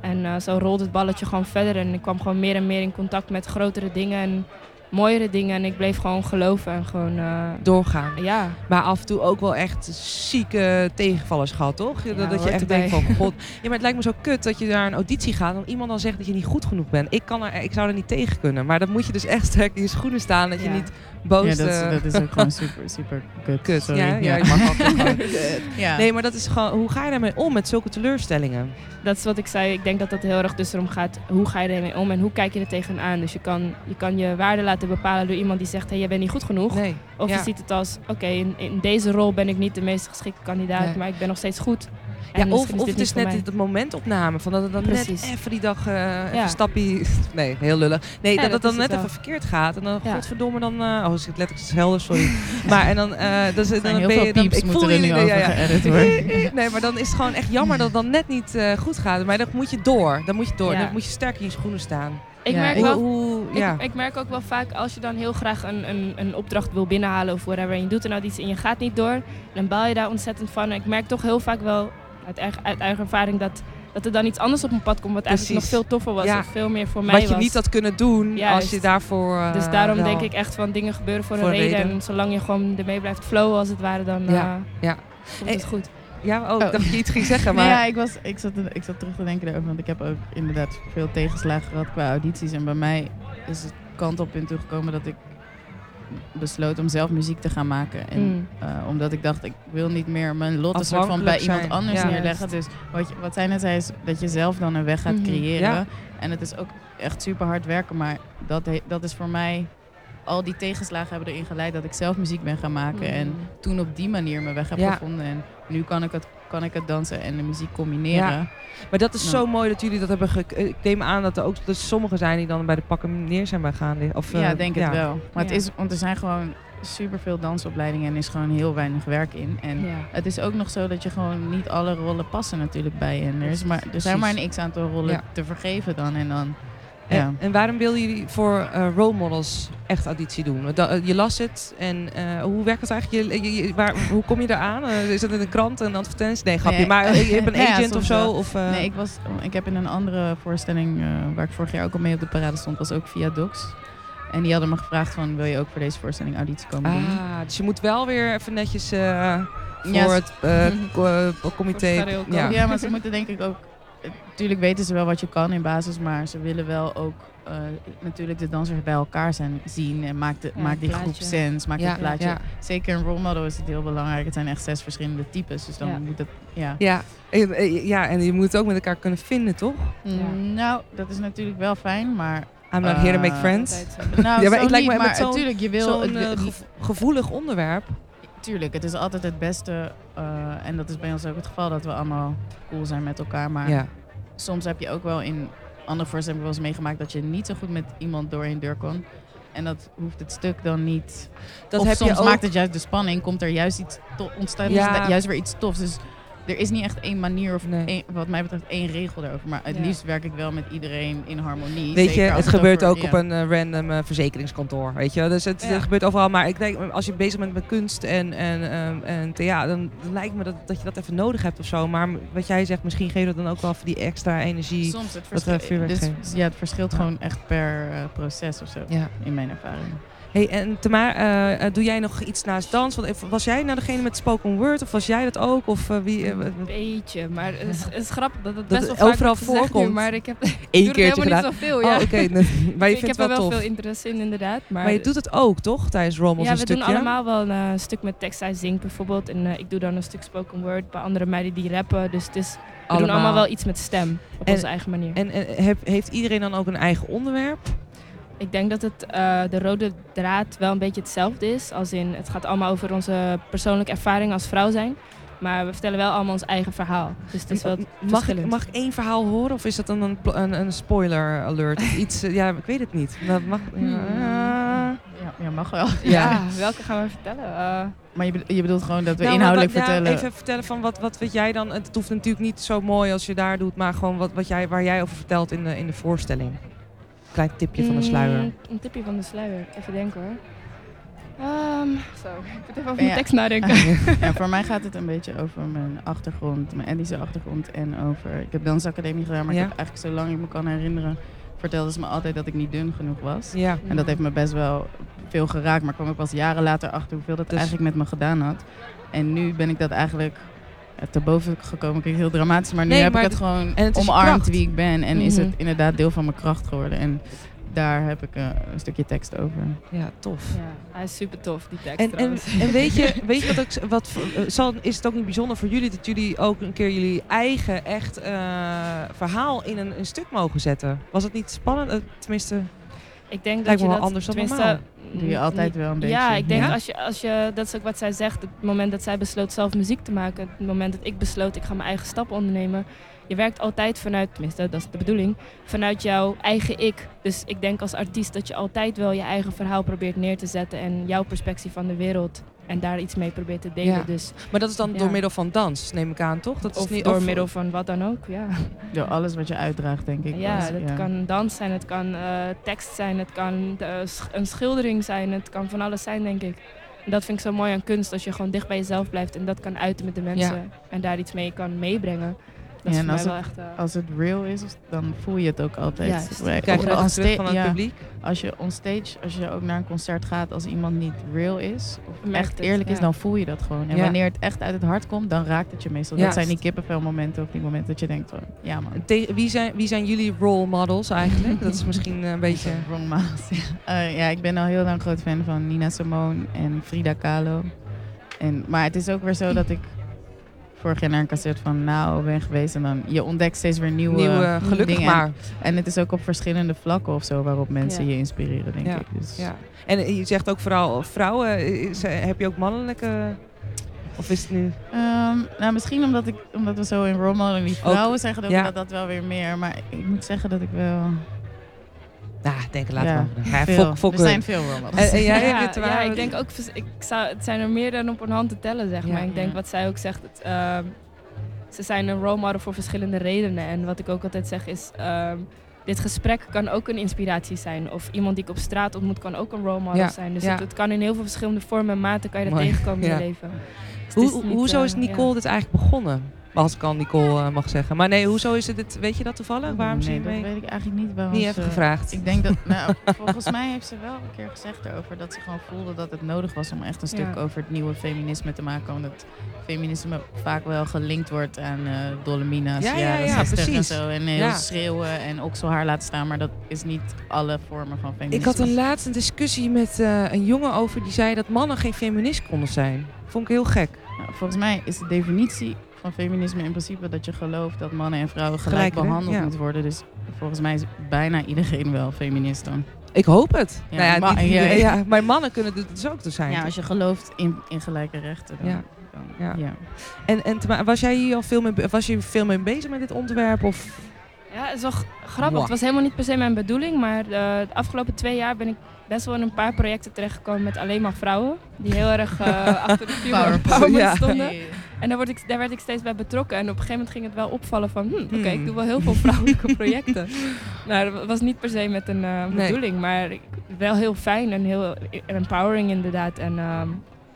[SPEAKER 2] En eh, zo rolde het balletje gewoon verder en ik kwam gewoon meer en meer in contact met grotere dingen en mooiere dingen. En ik bleef gewoon geloven en gewoon, eh,
[SPEAKER 1] Doorgaan.
[SPEAKER 2] ja,
[SPEAKER 1] Maar af en toe ook wel echt zieke tegenvallers gehad, toch? Dat- dat je
[SPEAKER 2] hoort
[SPEAKER 1] echt
[SPEAKER 2] erbij.
[SPEAKER 1] denkt van, god. Ja, maar het lijkt me zo kut dat je naar een auditie gaat... en iemand dan zegt dat je niet goed genoeg bent. Ik, kan er, ik zou er niet tegen kunnen. Maar dan moet je dus echt sterk in je schoenen staan... dat je
[SPEAKER 2] Ja.
[SPEAKER 1] niet boos...
[SPEAKER 3] ja, dat, is,
[SPEAKER 1] eh,
[SPEAKER 3] dat is ook gewoon super, super kut.
[SPEAKER 1] kut.
[SPEAKER 3] Sorry.
[SPEAKER 1] Ja, ja,
[SPEAKER 3] ja.
[SPEAKER 1] je mag altijd gewoon.
[SPEAKER 3] Ja.
[SPEAKER 1] Nee, maar dat is gewoon... Hoe ga je daarmee om met zulke teleurstellingen?
[SPEAKER 2] dat is wat ik zei. Ik denk dat dat heel erg dus erom gaat. Hoe ga je ermee om en hoe kijk je er tegenaan? Dus je kan je, kan je waarde laten bepalen door iemand die zegt: hé, hey, jij bent niet goed genoeg.
[SPEAKER 1] Nee.
[SPEAKER 2] Of
[SPEAKER 1] ja.
[SPEAKER 2] je ziet het als: oké, in, in deze rol ben ik niet de meest geschikte kandidaat,
[SPEAKER 1] Nee.
[SPEAKER 2] maar ik ben nog steeds goed.
[SPEAKER 1] Ja, of,
[SPEAKER 2] En misschien
[SPEAKER 1] of
[SPEAKER 2] dit
[SPEAKER 1] het is
[SPEAKER 2] niet
[SPEAKER 1] net
[SPEAKER 2] voor mij.
[SPEAKER 1] het momentopname. Van dat het dan
[SPEAKER 2] Precies.
[SPEAKER 1] net even die dag eh even
[SPEAKER 2] Ja.
[SPEAKER 1] een stapje... Nee, heel lullig. Nee,
[SPEAKER 2] Ja,
[SPEAKER 1] dat het
[SPEAKER 2] dat
[SPEAKER 1] dan
[SPEAKER 2] is
[SPEAKER 1] net
[SPEAKER 2] het wel.
[SPEAKER 1] even verkeerd gaat. En dan,
[SPEAKER 2] Ja.
[SPEAKER 1] godverdomme, dan... eh, oh, als ik het letterlijk helder, sorry. maar en dan, eh dus,
[SPEAKER 3] Er
[SPEAKER 1] dan
[SPEAKER 3] zijn heel
[SPEAKER 1] ben
[SPEAKER 3] veel
[SPEAKER 1] je... Dan,
[SPEAKER 3] pieps
[SPEAKER 1] ik voel
[SPEAKER 3] moeten er
[SPEAKER 1] jullie...
[SPEAKER 3] nu
[SPEAKER 1] nee,
[SPEAKER 3] over
[SPEAKER 1] ja, ja.
[SPEAKER 3] geëdit worden.
[SPEAKER 1] Nee, maar dan is het gewoon echt jammer dat het dan net niet eh, goed gaat. Maar dan moet je door. Dan moet je door.
[SPEAKER 2] Ja.
[SPEAKER 1] Dan moet je sterk in je schoenen staan.
[SPEAKER 2] Ik
[SPEAKER 3] Ja,
[SPEAKER 2] merk
[SPEAKER 3] ik-
[SPEAKER 1] Hoe,
[SPEAKER 2] wel.
[SPEAKER 1] hoe,
[SPEAKER 2] Ik,
[SPEAKER 1] ja.
[SPEAKER 2] ik merk ook wel vaak als je dan heel graag een, een, een opdracht wil binnenhalen of whatever. En je doet er nou iets en je gaat niet door. Dan baal je daar ontzettend van. En ik merk toch heel vaak wel uit eigen, uit eigen ervaring dat dat er dan iets anders op mijn pad komt, wat eigenlijk nog
[SPEAKER 1] Precies.
[SPEAKER 2] veel toffer was
[SPEAKER 1] Ja.
[SPEAKER 2] of veel meer voor mij
[SPEAKER 1] Wat je
[SPEAKER 2] was.
[SPEAKER 1] niet had kunnen doen als
[SPEAKER 2] Juist.
[SPEAKER 1] je daarvoor. eh,
[SPEAKER 2] dus daarom
[SPEAKER 1] wel-
[SPEAKER 2] denk ik echt van dingen gebeuren voor,
[SPEAKER 1] voor
[SPEAKER 2] een
[SPEAKER 1] een
[SPEAKER 2] reden.
[SPEAKER 1] reden.
[SPEAKER 2] En zolang je gewoon ermee blijft flowen als het ware, dan
[SPEAKER 1] Ja,
[SPEAKER 2] eh,
[SPEAKER 1] ja.
[SPEAKER 2] komt
[SPEAKER 1] Hey,
[SPEAKER 2] het goed.
[SPEAKER 1] Ja, oh, ik
[SPEAKER 3] Oh.
[SPEAKER 1] dacht dat je iets ging zeggen, maar.
[SPEAKER 3] Nee, ja, ik, was, ik, zat, ik zat terug te denken erover, want ik heb ook inderdaad veel tegenslagen gehad qua audities. En bij mij is het kant op in toegekomen dat ik besloot om zelf muziek te gaan maken. En
[SPEAKER 2] Mm.
[SPEAKER 3] eh, omdat ik dacht, ik wil niet meer mijn lot een soort van bij
[SPEAKER 1] Afhankelijk
[SPEAKER 3] iemand
[SPEAKER 1] zijn,
[SPEAKER 3] anders
[SPEAKER 1] ja.
[SPEAKER 3] neerleggen. Dus wat, je, wat zij net zei, is dat je zelf dan een weg gaat
[SPEAKER 2] Mhm,
[SPEAKER 3] creëren.
[SPEAKER 1] ja.
[SPEAKER 3] En het is ook echt super hard werken, maar dat, he- dat is voor mij... Al die tegenslagen hebben erin geleid dat ik zelf muziek ben gaan maken. En
[SPEAKER 2] Mm.
[SPEAKER 3] toen op die manier mijn weg heb
[SPEAKER 1] Ja.
[SPEAKER 3] gevonden. En nu kan ik, het, kan ik het dansen en de muziek combineren.
[SPEAKER 1] Ja. Maar dat is
[SPEAKER 3] Ja.
[SPEAKER 1] zo mooi dat jullie dat hebben. gek- eh, Ik neem aan dat er ook dat er sommigen zijn die dan bij de pakken neer zijn bij gaan liggen. Of,
[SPEAKER 3] Ja,
[SPEAKER 1] eh,
[SPEAKER 3] denk het wel. Maar het
[SPEAKER 2] Ja.
[SPEAKER 3] is, want er zijn gewoon superveel dansopleidingen en er is gewoon heel weinig werk in. En
[SPEAKER 2] Ja.
[SPEAKER 3] het is ook nog zo dat je gewoon niet alle rollen passen natuurlijk bij je. En er, is maar, er
[SPEAKER 1] Precies.
[SPEAKER 3] zijn maar een x-aantal rollen
[SPEAKER 1] Ja.
[SPEAKER 3] te vergeven dan en dan.
[SPEAKER 1] En,
[SPEAKER 3] Ja.
[SPEAKER 1] en waarom wilden jullie voor eh, role models echt auditie doen? Want da- je las het en eh, hoe werkt het eigenlijk? Je, je- je- waar, hoe kom je eraan? Eh, is dat in een krant, een advertentie? Nee, grapje.
[SPEAKER 3] Nee.
[SPEAKER 1] Maar eh, je hebt een
[SPEAKER 3] Ja, ja,
[SPEAKER 1] agent
[SPEAKER 3] soms
[SPEAKER 1] of zo?
[SPEAKER 3] wel.
[SPEAKER 1] Of, eh,
[SPEAKER 3] Nee, ik, was, ik heb in een andere voorstelling eh, waar ik vorig jaar ook al mee op de parade stond, was ook via Docs. En die hadden me gevraagd van, wil je ook voor deze voorstelling auditie komen doen?
[SPEAKER 1] Ah, dus je moet wel weer even netjes eh, voor
[SPEAKER 3] Ja,
[SPEAKER 1] het eh, co- eh, comité.
[SPEAKER 2] Voor het gareel komen.
[SPEAKER 1] ja.
[SPEAKER 3] Ja. maar ze moeten denk ik ook... Natuurlijk weten ze wel wat je kan in basis, maar ze willen wel ook eh, natuurlijk de dansers bij elkaar zijn, zien. En maakt, de,
[SPEAKER 2] Ja,
[SPEAKER 3] maakt die
[SPEAKER 2] het plaatje.
[SPEAKER 3] groep sens, maakt
[SPEAKER 1] Ja,
[SPEAKER 3] het plaatje.
[SPEAKER 1] ja.
[SPEAKER 3] Zeker in role model is het heel belangrijk. Het zijn echt zes verschillende types, dus dan
[SPEAKER 2] Ja.
[SPEAKER 3] moet het... Ja.
[SPEAKER 1] Ja. En, eh, ja, en je moet het ook met elkaar kunnen vinden, toch?
[SPEAKER 2] Ja.
[SPEAKER 3] Nou, dat is natuurlijk wel fijn, maar...
[SPEAKER 1] I'm not here to make
[SPEAKER 3] Eh,
[SPEAKER 1] friends.
[SPEAKER 3] Nou,
[SPEAKER 1] Ja, maar
[SPEAKER 3] maar
[SPEAKER 1] het lijkt me met
[SPEAKER 3] maar
[SPEAKER 1] zo'n-
[SPEAKER 3] natuurlijk, je wil...
[SPEAKER 1] Zo'n
[SPEAKER 3] het-
[SPEAKER 1] eh,
[SPEAKER 3] het-
[SPEAKER 1] gevo- gevoelig onderwerp.
[SPEAKER 3] Tuurlijk, het is altijd het beste. eh, en dat is bij ons ook het geval, dat we allemaal cool zijn met elkaar, maar...
[SPEAKER 1] Ja.
[SPEAKER 3] soms heb je ook wel in andere voorstellingen wel eens meegemaakt dat je niet zo goed met iemand door een deur kon. En dat hoeft het stuk dan niet.
[SPEAKER 1] Dat
[SPEAKER 3] of
[SPEAKER 1] heb
[SPEAKER 3] soms
[SPEAKER 1] je ook.
[SPEAKER 3] maakt het juist de spanning, komt er juist iets to- ontstaat
[SPEAKER 1] Ja.
[SPEAKER 3] ontstaat juist weer iets tofs. Dus er is niet echt één manier of
[SPEAKER 1] Nee.
[SPEAKER 3] één- wat mij betreft één regel daarover. Maar het
[SPEAKER 2] Ja.
[SPEAKER 3] liefst werk ik wel met iedereen in harmonie.
[SPEAKER 1] Weet je,
[SPEAKER 3] Zeker als
[SPEAKER 1] het gebeurt
[SPEAKER 3] over-
[SPEAKER 1] ook op
[SPEAKER 3] ja.
[SPEAKER 1] een eh, random eh, verzekeringskantoor. Weet je, dus het,
[SPEAKER 2] Ja.
[SPEAKER 1] het gebeurt overal. Maar ik denk, als je bezig bent met kunst en, en, ehm, en theater, dan, dan lijkt me dat, dat je dat even nodig hebt of zo. Maar m- wat jij zegt, misschien geeft dat dan ook wel even die extra energie.
[SPEAKER 3] Soms het
[SPEAKER 1] dat er
[SPEAKER 3] verschil.
[SPEAKER 1] vuurwerk
[SPEAKER 3] Dus,
[SPEAKER 1] geeft.
[SPEAKER 3] ja, het verschilt
[SPEAKER 1] Ja.
[SPEAKER 3] gewoon echt per eh, proces of zo.
[SPEAKER 1] Ja.
[SPEAKER 3] In mijn ervaring.
[SPEAKER 1] Hey, en Tamar, eh, eh, doe jij nog iets naast dans? Want even- was jij nou degene met spoken word of was jij dat ook? Of eh, wie? eh, wat-
[SPEAKER 2] Een beetje, maar het is, het is grappig dat het
[SPEAKER 1] Dat
[SPEAKER 2] best
[SPEAKER 1] het
[SPEAKER 2] wel vaak
[SPEAKER 1] overal
[SPEAKER 2] wordt gezegd nu,
[SPEAKER 1] voorkomt.
[SPEAKER 2] maar ik heb
[SPEAKER 1] Eén
[SPEAKER 2] ik doe het helemaal niet zoveel. Ja.
[SPEAKER 1] Oh, oké. nee. maar je
[SPEAKER 2] ik heb
[SPEAKER 1] vindt
[SPEAKER 2] er
[SPEAKER 1] het
[SPEAKER 2] wel
[SPEAKER 1] wel tof.
[SPEAKER 2] veel interesse in inderdaad. Maar,
[SPEAKER 1] Maar je doet het ook, toch? Tijdens Rommels
[SPEAKER 2] ja,
[SPEAKER 1] een
[SPEAKER 2] we
[SPEAKER 1] stukje.
[SPEAKER 2] doen allemaal wel een eh, stuk met tekst uit zink bijvoorbeeld. En eh, ik doe dan een stuk spoken word bij andere meiden die rappen. Dus het is, we doen allemaal wel iets met stem op
[SPEAKER 1] En-
[SPEAKER 2] onze eigen manier.
[SPEAKER 1] En, en heb- heeft iedereen dan ook een eigen onderwerp?
[SPEAKER 2] Ik denk dat het, eh, de rode draad wel een beetje hetzelfde is. Als in, het gaat allemaal over onze persoonlijke ervaring als vrouw zijn. Maar we vertellen wel allemaal ons eigen verhaal. Dus het is wel
[SPEAKER 1] mag, ik,
[SPEAKER 2] verschillend.
[SPEAKER 1] mag ik één verhaal horen of is dat dan een, pl- een, een spoiler alert? Of iets, eh, ja, ik weet het niet. Dat mag, ja.
[SPEAKER 2] Hmm.
[SPEAKER 3] Ja, ja, mag wel.
[SPEAKER 2] ja.
[SPEAKER 1] Ja.
[SPEAKER 2] welke gaan we vertellen? Eh,
[SPEAKER 3] Maar je, bedo- je bedoelt gewoon dat we
[SPEAKER 1] Nou, maar
[SPEAKER 3] inhoudelijk
[SPEAKER 1] wat- ja,
[SPEAKER 3] vertellen.
[SPEAKER 1] even vertellen van wat, wat weet jij dan? Het hoeft natuurlijk niet zo mooi als je daar doet, maar gewoon wat, wat jij, waar jij over vertelt in de, in de voorstelling. Klein tipje van de sluier.
[SPEAKER 2] Mm, een tipje van de sluier. Even denken hoor. Ehm, zo, ik moet even over
[SPEAKER 3] Ja.
[SPEAKER 2] mijn tekst nadenken.
[SPEAKER 3] Ja, voor mij gaat het een beetje over mijn achtergrond, mijn etnische achtergrond en over... Ik heb dansacademie gedaan, maar
[SPEAKER 1] Ja.
[SPEAKER 3] ik heb eigenlijk zolang ik me kan herinneren, vertelden ze me altijd dat ik niet dun genoeg was.
[SPEAKER 1] Ja,
[SPEAKER 3] En dat heeft me best wel veel geraakt, maar ik kwam ook pas jaren later achter hoeveel dat
[SPEAKER 1] Dus-
[SPEAKER 3] eigenlijk met me gedaan had. En nu ben ik dat eigenlijk eh, te boven gekomen, klinkt heel dramatisch, maar nu
[SPEAKER 1] Nee,
[SPEAKER 3] heb
[SPEAKER 1] maar
[SPEAKER 3] ik het gewoon
[SPEAKER 1] en het is je
[SPEAKER 3] omarmd
[SPEAKER 1] kracht.
[SPEAKER 3] wie ik ben en is het
[SPEAKER 2] Mhm.
[SPEAKER 3] inderdaad deel van mijn kracht geworden. En daar heb ik eh, een stukje tekst over.
[SPEAKER 1] ja tof.
[SPEAKER 2] Ja, hij is super tof, die tekst
[SPEAKER 1] En, en,
[SPEAKER 2] trouwens.
[SPEAKER 1] en weet je, weet je wat ook, z- wat, voor- eh, zal, is het ook niet bijzonder voor jullie dat jullie ook een keer jullie eigen echt eh, verhaal in een, een stuk mogen zetten? Was het niet spannend? Eh, tenminste,
[SPEAKER 2] Ik denk dat
[SPEAKER 1] Lijkt
[SPEAKER 2] je
[SPEAKER 1] me wel
[SPEAKER 2] dat
[SPEAKER 1] anders dan
[SPEAKER 2] tenminste,
[SPEAKER 1] normaal.
[SPEAKER 2] mm,
[SPEAKER 3] Doe je altijd wel een beetje.
[SPEAKER 2] Ja, ik denk
[SPEAKER 1] Ja?
[SPEAKER 2] Als, je, als je, dat is ook wat zij zegt, het moment dat zij besloot zelf muziek te maken, het moment dat ik besloot ik ga mijn eigen stappen ondernemen, je werkt altijd vanuit, tenminste dat is de bedoeling, vanuit jouw eigen ik. Dus ik denk als artiest dat je altijd wel je eigen verhaal probeert neer te zetten en jouw perspectief van de wereld en daar iets mee probeert te delen.
[SPEAKER 1] Ja.
[SPEAKER 2] Dus
[SPEAKER 1] maar dat is dan
[SPEAKER 2] Ja.
[SPEAKER 1] door middel van dans, neem ik aan, toch? Dat is
[SPEAKER 2] of
[SPEAKER 1] niet,
[SPEAKER 2] door
[SPEAKER 1] of-
[SPEAKER 2] middel van wat dan ook, ja.
[SPEAKER 3] Door alles wat je uitdraagt, denk ik.
[SPEAKER 2] ja,
[SPEAKER 3] Dus,
[SPEAKER 2] dat kan dans zijn, het kan eh, tekst zijn, het kan eh, sch- een schildering zijn, het kan van alles zijn, denk ik. En dat vind ik zo mooi aan kunst, als je gewoon dicht bij jezelf blijft en dat kan uiten met de mensen en daar iets mee kan meebrengen. Dat is
[SPEAKER 3] Ja, en
[SPEAKER 2] voor
[SPEAKER 3] als
[SPEAKER 2] mij wel echt... eh,
[SPEAKER 3] Als het real is, dan voel je het ook altijd.
[SPEAKER 2] Juist.
[SPEAKER 3] Wij-
[SPEAKER 1] Krijg je
[SPEAKER 3] op-
[SPEAKER 1] dat ook
[SPEAKER 3] on
[SPEAKER 1] terug
[SPEAKER 3] sta-
[SPEAKER 1] van het
[SPEAKER 3] ja,
[SPEAKER 1] publiek?
[SPEAKER 3] Als je onstage, als je ook naar een concert gaat, als iemand niet real is, of
[SPEAKER 2] Merkt
[SPEAKER 3] echt
[SPEAKER 2] het,
[SPEAKER 3] eerlijk is,
[SPEAKER 2] ja.
[SPEAKER 3] dan voel je dat gewoon. En
[SPEAKER 1] Ja.
[SPEAKER 3] wanneer het echt uit het hart komt, dan raakt het je meestal. Dat
[SPEAKER 1] Juist.
[SPEAKER 3] zijn die kippenvelmomenten of die momenten dat je denkt van, ja man.
[SPEAKER 1] Te- wie, zijn, wie zijn jullie role models eigenlijk? Dat is misschien eh, een beetje...
[SPEAKER 3] Wrong mouth. Eh, ja, ik ben al heel lang groot fan van Nina Simone en Frida Kahlo. En, maar het is ook weer zo dat ik vorig jaar naar een cassette van Nao ben geweest. En dan, je ontdekt steeds weer nieuwe...
[SPEAKER 1] Nieuw, eh, gelukkig
[SPEAKER 3] dingen.
[SPEAKER 1] maar.
[SPEAKER 3] En het is ook op verschillende vlakken of zo waarop mensen
[SPEAKER 2] Ja.
[SPEAKER 3] je inspireren, denk ik. Dus
[SPEAKER 1] Ja. En eh, je zegt ook vooral vrouwen. Is- heb je ook mannelijke... Of is het nu...
[SPEAKER 3] Ehm, nou, misschien omdat, ik, omdat we zo in role model die vrouwen zeggen, dat,
[SPEAKER 1] ja.
[SPEAKER 3] dat dat wel weer meer. Maar ik moet zeggen dat ik wel...
[SPEAKER 1] Nou, ik denk, laat
[SPEAKER 3] Ja,
[SPEAKER 1] maar. Ja,
[SPEAKER 3] veel-
[SPEAKER 1] fok, fokken. Eh,
[SPEAKER 3] er zijn veel role models.
[SPEAKER 1] En- en jij,
[SPEAKER 2] ja,
[SPEAKER 1] Witte
[SPEAKER 2] ja,
[SPEAKER 1] Wagen?
[SPEAKER 2] ik denk ook, vers- ik zou, het zijn er meer dan op een hand te tellen, zeg
[SPEAKER 1] Ja,
[SPEAKER 2] maar. Ik denk
[SPEAKER 3] ja.
[SPEAKER 2] wat zij ook zegt, het, ehm, ze zijn een role model voor verschillende redenen. En wat ik ook altijd zeg is, ehm, dit gesprek kan ook een inspiratie zijn. Of iemand die ik op straat ontmoet kan ook een role model
[SPEAKER 1] Ja,
[SPEAKER 2] zijn. Dus
[SPEAKER 1] ja.
[SPEAKER 2] het, het kan in heel veel verschillende vormen en maten kan je dat
[SPEAKER 1] Mooi,
[SPEAKER 2] tegenkomen in
[SPEAKER 1] ja.
[SPEAKER 2] je leven. Dus het
[SPEAKER 1] Hoe,
[SPEAKER 2] is niet,
[SPEAKER 1] hoezo
[SPEAKER 2] eh,
[SPEAKER 1] is
[SPEAKER 2] ja.
[SPEAKER 1] Nicole dit eigenlijk begonnen? Als ik al Nicole eh, mag zeggen. Maar nee, hoezo is het dit? Weet je dat toevallig? Waarom
[SPEAKER 3] nee,
[SPEAKER 1] ze
[SPEAKER 3] dat
[SPEAKER 1] mee?
[SPEAKER 3] weet ik eigenlijk niet bij
[SPEAKER 1] Niet
[SPEAKER 3] ons,
[SPEAKER 1] even
[SPEAKER 3] eh,
[SPEAKER 1] gevraagd.
[SPEAKER 3] Ik denk dat, nou, volgens mij heeft ze wel een keer gezegd erover dat ze gewoon voelde dat het nodig was om echt een stuk
[SPEAKER 2] Ja.
[SPEAKER 3] over het nieuwe feminisme te maken. Omdat feminisme vaak wel gelinkt wordt aan eh Dolomina's,
[SPEAKER 1] Ja, ja,
[SPEAKER 3] jaren
[SPEAKER 1] ja,
[SPEAKER 3] 60 en
[SPEAKER 1] precies.
[SPEAKER 3] zo. En eh, heel
[SPEAKER 1] Ja.
[SPEAKER 3] schreeuwen en okselhaar laten staan. Maar dat is niet alle vormen van feminisme.
[SPEAKER 1] Ik had een laatste discussie met eh, een jongen over die zei dat mannen geen feminist konden zijn. Vond ik heel gek.
[SPEAKER 3] Nou, volgens mij is de definitie van feminisme in principe dat je gelooft dat mannen en vrouwen gelijk,
[SPEAKER 1] Gelijk, hè?
[SPEAKER 3] behandeld
[SPEAKER 1] Ja.
[SPEAKER 3] moeten worden. Dus volgens mij is bijna iedereen wel feminist dan.
[SPEAKER 1] Ik hoop het.
[SPEAKER 3] Ja,
[SPEAKER 1] nou ja,
[SPEAKER 3] maar-
[SPEAKER 1] niet iedereen-
[SPEAKER 3] ja.
[SPEAKER 1] ja, maar mannen kunnen dit dus ook dus zijn.
[SPEAKER 3] Ja,
[SPEAKER 1] toch?
[SPEAKER 3] als je gelooft in, in gelijke rechten dan.
[SPEAKER 1] Ja.
[SPEAKER 3] dan
[SPEAKER 1] Ja.
[SPEAKER 3] ja.
[SPEAKER 1] En, en Tma, was jij hier al veel mee, be- was je veel mee bezig met dit onderwerp? Of?
[SPEAKER 2] Ja, het is wel g- grappig.
[SPEAKER 1] Mwah.
[SPEAKER 2] Het was helemaal niet per se mijn bedoeling, maar eh, de afgelopen twee jaar ben ik best wel in een paar projecten terechtgekomen met alleen maar vrouwen. Die heel erg eh, achter de
[SPEAKER 3] Power.
[SPEAKER 2] female empowerment
[SPEAKER 1] Ja.
[SPEAKER 2] stonden. En daar, word ik, daar werd ik steeds bij betrokken. En op een gegeven moment ging het wel opvallen van... hm, oké,
[SPEAKER 1] Hmm.
[SPEAKER 2] ik doe wel heel veel vrouwelijke projecten. nou, dat was niet per se met een eh,
[SPEAKER 1] Nee.
[SPEAKER 2] bedoeling. Maar ik- wel heel fijn en heel empowering inderdaad. En ehm,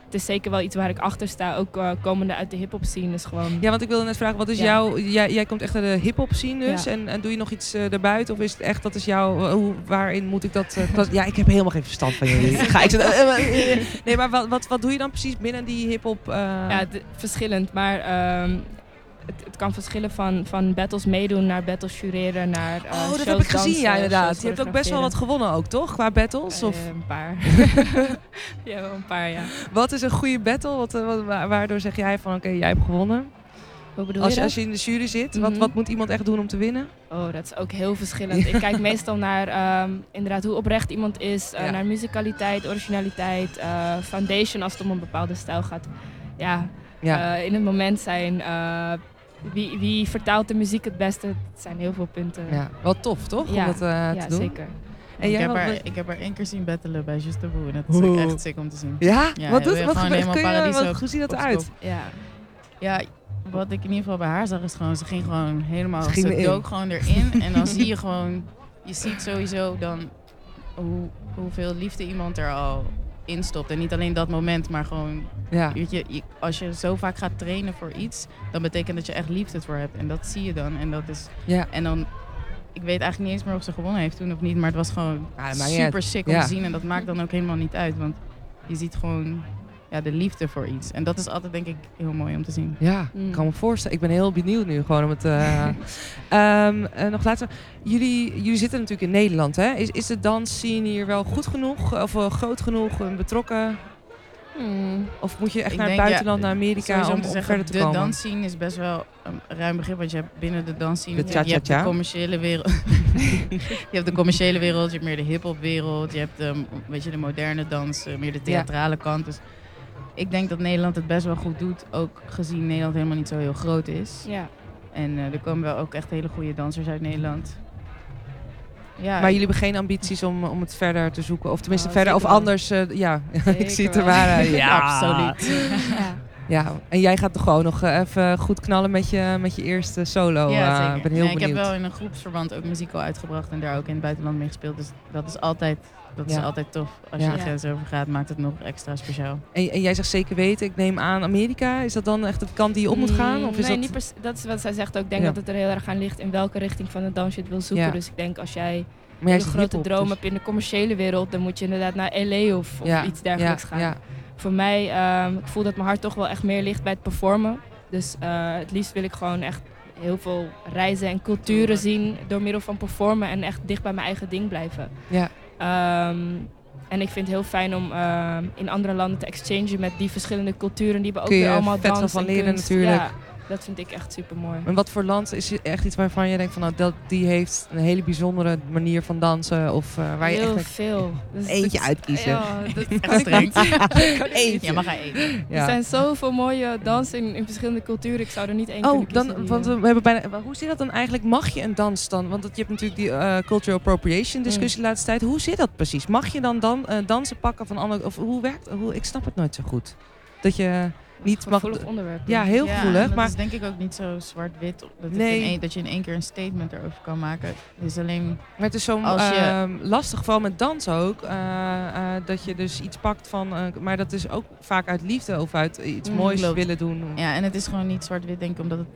[SPEAKER 2] het is zeker wel iets waar ik achter sta. Ook eh, komende uit de hip-hop scene is gewoon...
[SPEAKER 1] Ja, want ik wilde net vragen, wat is
[SPEAKER 2] Ja.
[SPEAKER 1] jouw, jij, jij komt echt uit de hip-hop scene dus.
[SPEAKER 2] Ja.
[SPEAKER 1] En, en doe je nog iets eh daarbuiten? Of is het echt, dat is jouw, eh, hoe, waarin moet ik dat? eh, klas- ja, ik heb helemaal geen verstand van jullie. Ga ik zo- eh, maar- eh, nee, maar wat, wat, wat doe je dan precies binnen die hip-hop? eh,
[SPEAKER 2] Ja, het- verschillend. Maar ehm, het, het kan verschillen van, van battles meedoen naar battles jureren naar eh,
[SPEAKER 1] oh, dat
[SPEAKER 2] shows
[SPEAKER 1] heb ik gezien,
[SPEAKER 2] dansen,
[SPEAKER 1] ja,
[SPEAKER 2] shows
[SPEAKER 1] inderdaad. Je hebt ook best wel wat gewonnen ook, toch? Qua battles? Of,
[SPEAKER 2] choreograferen. Eh, een paar. ja, wel een paar, ja.
[SPEAKER 1] wat is een goede battle? Wat, eh, wat- wa- waardoor zeg jij van, oké, jij hebt gewonnen.
[SPEAKER 2] Hoe bedoel
[SPEAKER 1] Als,
[SPEAKER 2] je
[SPEAKER 1] je- als
[SPEAKER 2] dat?
[SPEAKER 1] je in de jury zit, wat,
[SPEAKER 2] Mhm.
[SPEAKER 1] wat moet iemand echt doen om te winnen?
[SPEAKER 2] Oh, dat is ook heel verschillend. Ik kijk meestal naar ehm, inderdaad hoe oprecht iemand is, eh,
[SPEAKER 1] Ja.
[SPEAKER 2] naar musicaliteit, originaliteit, eh, foundation als het om een bepaalde stijl gaat. Ja,
[SPEAKER 1] Ja,
[SPEAKER 2] eh, in het moment zijn. eh, wie, wie vertaalt de muziek het beste? Het zijn heel veel punten.
[SPEAKER 1] ja. Eh, wel tof, toch?
[SPEAKER 2] Ja.
[SPEAKER 1] om dat eh,
[SPEAKER 2] Ja,
[SPEAKER 1] te doen.
[SPEAKER 2] zeker.
[SPEAKER 1] En
[SPEAKER 3] ik,
[SPEAKER 1] jij,
[SPEAKER 3] heb
[SPEAKER 1] wat-
[SPEAKER 3] haar,
[SPEAKER 1] wat-
[SPEAKER 3] ik heb haar één keer zien battelen bij Just the Boo. En dat is ook
[SPEAKER 1] Oeh.
[SPEAKER 3] echt sick om te zien.
[SPEAKER 1] Ja?
[SPEAKER 3] Ja,
[SPEAKER 1] wat
[SPEAKER 3] wil
[SPEAKER 1] doet,
[SPEAKER 3] je
[SPEAKER 1] wat
[SPEAKER 3] gewoon
[SPEAKER 1] gebeurt? Kun
[SPEAKER 3] helemaal
[SPEAKER 1] je,
[SPEAKER 3] paradiso
[SPEAKER 1] wat, hoe ziet dat
[SPEAKER 3] op
[SPEAKER 1] eruit?
[SPEAKER 3] school.
[SPEAKER 2] Ja.
[SPEAKER 3] Ja, wat ik in ieder geval bij haar zag is gewoon, ze ging gewoon helemaal,
[SPEAKER 1] Ze
[SPEAKER 3] ze,
[SPEAKER 1] ging erin.
[SPEAKER 3] dook gewoon erin. en dan zie je gewoon, je ziet sowieso dan hoe, hoeveel liefde iemand er al instopt. En niet alleen dat moment, maar gewoon,
[SPEAKER 1] Ja.
[SPEAKER 3] weet je, je- als je zo vaak gaat trainen voor iets, dan betekent dat je echt liefde voor hebt. En dat zie je dan. En dat is,
[SPEAKER 1] Ja.
[SPEAKER 3] en dan, ik weet eigenlijk niet eens meer of ze gewonnen heeft toen of niet, maar het was gewoon
[SPEAKER 1] Ja, dat maakt niet uit.
[SPEAKER 3] super sick om
[SPEAKER 1] Ja.
[SPEAKER 3] te zien. En dat maakt dan ook helemaal niet uit. Want je ziet gewoon ja, de liefde voor iets. En dat is altijd denk ik heel mooi om te zien.
[SPEAKER 1] Ja, ik
[SPEAKER 2] Mm.
[SPEAKER 1] kan me voorstellen. Ik ben heel benieuwd nu gewoon om het... eh, ehm, eh, nog later. Jullie, jullie zitten natuurlijk in Nederland, hè? Is, is de dansscene hier wel goed genoeg? Of wel groot genoeg? en betrokken?
[SPEAKER 2] Hmm.
[SPEAKER 1] Of moet je echt
[SPEAKER 3] Ik
[SPEAKER 1] naar het
[SPEAKER 3] denk, ja,
[SPEAKER 1] buitenland, naar Amerika,
[SPEAKER 3] Sowieso
[SPEAKER 1] om, om verder te
[SPEAKER 3] de
[SPEAKER 1] komen?
[SPEAKER 3] dansscene is best wel een ruim begrip. Want je hebt binnen de dansscene...
[SPEAKER 1] De
[SPEAKER 3] je hebt de
[SPEAKER 1] cha-cha-cha.
[SPEAKER 3] commerciële wereld. je hebt de commerciële wereld, je hebt meer de hip-hop wereld. Je hebt de, weet je, de moderne dans, eh, meer de theatrale kant. Dus ik denk dat Nederland het best wel goed doet. Ook gezien Nederland helemaal niet zo heel groot is.
[SPEAKER 2] Ja.
[SPEAKER 3] En eh, er komen wel ook echt hele goede dansers uit Nederland. Ja,
[SPEAKER 1] Maar jullie hebben geen ambities om, om het verder te zoeken? Of tenminste
[SPEAKER 2] Oh,
[SPEAKER 1] verder, of
[SPEAKER 2] zeker wel.
[SPEAKER 1] anders... eh, ja, ik
[SPEAKER 2] Zeker
[SPEAKER 1] zie het er
[SPEAKER 2] wel.
[SPEAKER 1] waar uit. Ja,
[SPEAKER 3] absoluut.
[SPEAKER 2] ja.
[SPEAKER 1] Ja, en jij gaat toch gewoon nog eh, even goed knallen met je, met je eerste solo.
[SPEAKER 3] ja,
[SPEAKER 1] eh,
[SPEAKER 3] zeker.
[SPEAKER 1] ik ben heel
[SPEAKER 3] Nee, Ik
[SPEAKER 1] benieuwd.
[SPEAKER 3] heb wel in een groepsverband ook muziek al uitgebracht en daar ook in het buitenland mee gespeeld. Dus dat is altijd, dat
[SPEAKER 1] Ja.
[SPEAKER 3] is altijd tof. Als
[SPEAKER 1] Ja.
[SPEAKER 3] je de grens over gaat, maakt het nog extra speciaal.
[SPEAKER 1] En, en jij zegt zeker weten, ik neem aan Amerika. Is dat dan echt de kant die je op moet gaan?
[SPEAKER 2] Mm,
[SPEAKER 1] Of is
[SPEAKER 2] nee,
[SPEAKER 1] dat...
[SPEAKER 2] niet per se- dat is wat zij zegt ook. Ik denk
[SPEAKER 1] Ja.
[SPEAKER 2] dat het er heel erg aan ligt in welke richting van de dans je het wil zoeken.
[SPEAKER 1] Ja.
[SPEAKER 2] Dus ik denk als jij
[SPEAKER 1] maar jij
[SPEAKER 2] een
[SPEAKER 1] zegt
[SPEAKER 2] grote
[SPEAKER 1] hiphop,
[SPEAKER 2] droom
[SPEAKER 1] dus-
[SPEAKER 2] hebt in de commerciële wereld, dan moet je inderdaad naar LA of, of
[SPEAKER 1] Ja,
[SPEAKER 2] iets dergelijks
[SPEAKER 1] ja,
[SPEAKER 2] gaan.
[SPEAKER 1] Ja,
[SPEAKER 2] Voor mij, ehm, ik voel dat mijn hart toch wel echt meer ligt bij het performen. Dus eh, het liefst wil ik gewoon echt heel veel reizen en culturen zien door middel van performen en echt dicht bij mijn eigen ding blijven.
[SPEAKER 1] Ja.
[SPEAKER 2] Ehm, en ik vind het heel fijn om ehm, in andere landen te exchangen met die verschillende culturen die we ook
[SPEAKER 1] Kun je
[SPEAKER 2] weer allemaal
[SPEAKER 1] vet wel
[SPEAKER 2] dansen
[SPEAKER 1] van
[SPEAKER 2] en
[SPEAKER 1] leren
[SPEAKER 2] kunst.
[SPEAKER 1] natuurlijk.
[SPEAKER 2] Ja, dat vind ik echt super mooi.
[SPEAKER 1] En wat voor land is echt iets waarvan je denkt van nou, dat, die heeft een hele bijzondere manier van dansen of eh, waar je
[SPEAKER 2] heel
[SPEAKER 1] echt
[SPEAKER 2] veel. Dus
[SPEAKER 1] eentje
[SPEAKER 2] dat-
[SPEAKER 1] uitkiezen.
[SPEAKER 2] Ja, dat kan
[SPEAKER 3] Echt
[SPEAKER 2] ik niet.
[SPEAKER 3] streng.
[SPEAKER 1] Eentje.
[SPEAKER 3] Ja, maar ga eten.
[SPEAKER 1] Ja.
[SPEAKER 2] Er zijn zoveel mooie dansen in, in verschillende culturen. Ik zou er niet één kunnen
[SPEAKER 1] Oh,
[SPEAKER 2] kiezen
[SPEAKER 1] dan,
[SPEAKER 2] die,
[SPEAKER 1] want
[SPEAKER 2] eh,
[SPEAKER 1] we hebben bijna. maar Hoe zit dat dan eigenlijk? Mag je een dans dan? Want dat- je hebt natuurlijk die eh, cultural
[SPEAKER 2] Mm.
[SPEAKER 1] appropriation discussie de laatste tijd. Hoe zit dat precies? Mag je dan, dan eh, dansen pakken van anderen? Of hoe werkt hoe, Ik snap het nooit zo goed. Dat je niet mag.
[SPEAKER 2] gevoelig onderwerp. dus.
[SPEAKER 1] Ja, heel
[SPEAKER 3] Ja, en
[SPEAKER 1] gevoelig.
[SPEAKER 3] dat
[SPEAKER 1] Maar
[SPEAKER 3] is denk ik ook niet zo zwart-wit. Dat, het
[SPEAKER 1] Nee.
[SPEAKER 3] in één- dat je in één keer een statement erover kan maken. Het is alleen...
[SPEAKER 1] Maar het is zo'n
[SPEAKER 3] Als je-
[SPEAKER 1] ehm, lastig vooral met dans ook. eh, eh, dat je dus iets pakt van. eh, maar dat is ook vaak uit liefde of uit iets
[SPEAKER 3] Mm,
[SPEAKER 1] moois
[SPEAKER 3] klopt.
[SPEAKER 1] willen doen.
[SPEAKER 3] Ja, en het is gewoon niet zwart-wit, denk ik, omdat het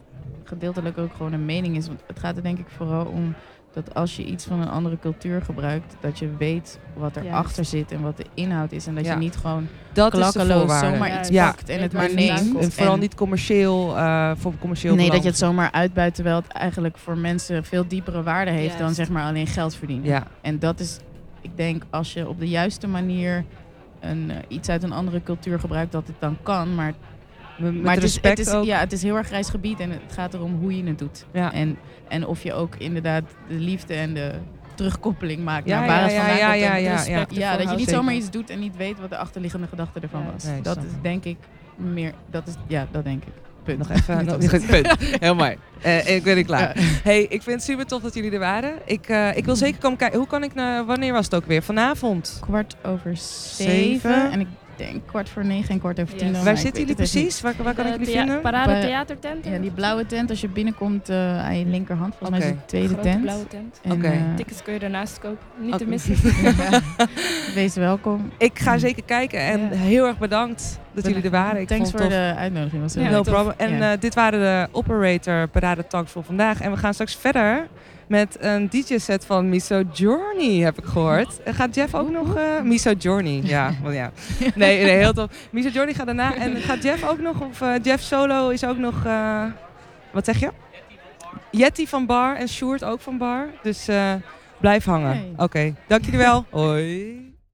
[SPEAKER 3] gedeeltelijk ook gewoon een mening is. Want het gaat er denk ik vooral om dat als je iets van een andere cultuur gebruikt, dat je weet wat
[SPEAKER 2] Juist.
[SPEAKER 3] erachter zit en wat de inhoud is. En dat
[SPEAKER 1] Ja.
[SPEAKER 3] je niet gewoon
[SPEAKER 1] Dat is de
[SPEAKER 3] klakkeloos
[SPEAKER 1] voorwaarde.
[SPEAKER 3] zomaar
[SPEAKER 2] Ja,
[SPEAKER 3] iets
[SPEAKER 1] ja.
[SPEAKER 3] pakt en het
[SPEAKER 2] Weet
[SPEAKER 3] maar
[SPEAKER 2] waar het vandaan
[SPEAKER 3] neemt.
[SPEAKER 2] komt.
[SPEAKER 1] En vooral
[SPEAKER 3] En-
[SPEAKER 1] niet commercieel, eh, voor commercieel
[SPEAKER 3] Nee, dat je
[SPEAKER 1] belang.
[SPEAKER 3] het zomaar uitbuit, terwijl het eigenlijk voor mensen veel diepere waarde heeft dan
[SPEAKER 2] Juist.
[SPEAKER 3] zeg maar alleen geld verdienen.
[SPEAKER 1] Ja,
[SPEAKER 3] En dat is, ik denk, als je op de juiste manier een, eh, iets uit een andere cultuur gebruikt, dat het dan kan. Maar,
[SPEAKER 1] met met
[SPEAKER 3] maar het, is,
[SPEAKER 1] respect
[SPEAKER 3] het, is,
[SPEAKER 1] ook.
[SPEAKER 3] Ja, het is heel erg grijs gebied en het gaat erom hoe je het doet.
[SPEAKER 1] Ja.
[SPEAKER 3] En, en of je ook inderdaad de liefde en de terugkoppeling maakt
[SPEAKER 1] Ja,
[SPEAKER 3] naar waar
[SPEAKER 1] ja,
[SPEAKER 3] het
[SPEAKER 1] ja,
[SPEAKER 3] vandaan
[SPEAKER 1] ja,
[SPEAKER 3] komt. en
[SPEAKER 1] ja,
[SPEAKER 3] het
[SPEAKER 1] ja, ja.
[SPEAKER 3] respect
[SPEAKER 2] Ja,
[SPEAKER 3] ervoor
[SPEAKER 2] dat je
[SPEAKER 3] houdt.
[SPEAKER 2] niet
[SPEAKER 3] niet zomaar
[SPEAKER 1] zeker.
[SPEAKER 3] iets doet en niet weet wat de achterliggende gedachte ervan
[SPEAKER 2] Ja,
[SPEAKER 3] was.
[SPEAKER 1] nee,
[SPEAKER 3] dat
[SPEAKER 1] snap
[SPEAKER 3] is
[SPEAKER 1] ik.
[SPEAKER 3] denk ik meer, dat is, ja, dat denk ik. Punt.
[SPEAKER 1] Nog even.
[SPEAKER 3] Dit
[SPEAKER 1] nog,
[SPEAKER 3] was het.
[SPEAKER 1] punt. Heel mooi. Eh, ik ben er klaar. Hey, ik vind het super tof dat jullie er waren. Ik, eh,
[SPEAKER 3] Mm.
[SPEAKER 1] ik wil zeker komen kijken. Hoe kan ik naar. Wanneer was het ook weer? Vanavond.
[SPEAKER 3] kwart over
[SPEAKER 1] Zeven.
[SPEAKER 3] zeven. En ik denk kwart voor negen en kwart over
[SPEAKER 2] Yes.
[SPEAKER 3] tien.
[SPEAKER 2] Oh,
[SPEAKER 3] dan,
[SPEAKER 1] Waar
[SPEAKER 3] maar ik
[SPEAKER 1] zitten
[SPEAKER 3] weet
[SPEAKER 1] jullie
[SPEAKER 3] het echt niet.
[SPEAKER 1] precies? Waar, waar kan ik
[SPEAKER 2] Eh,
[SPEAKER 1] jullie
[SPEAKER 2] thea-
[SPEAKER 1] vinden?
[SPEAKER 2] Parade
[SPEAKER 3] Bij-
[SPEAKER 2] theatertent.
[SPEAKER 3] Ja, die blauwe tent, als je binnenkomt eh, aan je linkerhand, volgens mij
[SPEAKER 1] Oké.
[SPEAKER 3] is het de tweede
[SPEAKER 2] grote
[SPEAKER 3] tent.
[SPEAKER 2] blauwe tent.
[SPEAKER 3] En,
[SPEAKER 1] Oké.
[SPEAKER 3] eh,
[SPEAKER 2] Tickets kun je daarnaast kopen. Niet
[SPEAKER 1] Oké.
[SPEAKER 2] te missen.
[SPEAKER 3] ja, wees welkom.
[SPEAKER 1] Ik ga zeker kijken en
[SPEAKER 3] Mm. Ja.
[SPEAKER 1] heel erg bedankt dat jullie er waren. Ik
[SPEAKER 3] Thanks
[SPEAKER 1] vond
[SPEAKER 3] voor
[SPEAKER 1] het tof.
[SPEAKER 3] de uitnodiging. Was heel
[SPEAKER 2] Ja,
[SPEAKER 1] no
[SPEAKER 3] leuk.
[SPEAKER 2] tof.
[SPEAKER 1] problem. En
[SPEAKER 3] Ja.
[SPEAKER 1] eh, dit waren de operator Parade Talks voor vandaag. En we gaan straks verder met een DJ-set van Miso Journey, heb ik gehoord. En gaat Jeff ook nog... eh Miso Journey, ja. wel ja. Nee, nee, heel tof. Miso Journey gaat daarna. En gaat Jeff ook nog... Of eh, Jeff Solo is ook nog... eh, wat zeg je? Jetty van Bar en Sjoerd ook van Bar. Dus eh, blijf hangen.
[SPEAKER 3] Hey.
[SPEAKER 1] Oké, dank jullie wel. Hoi.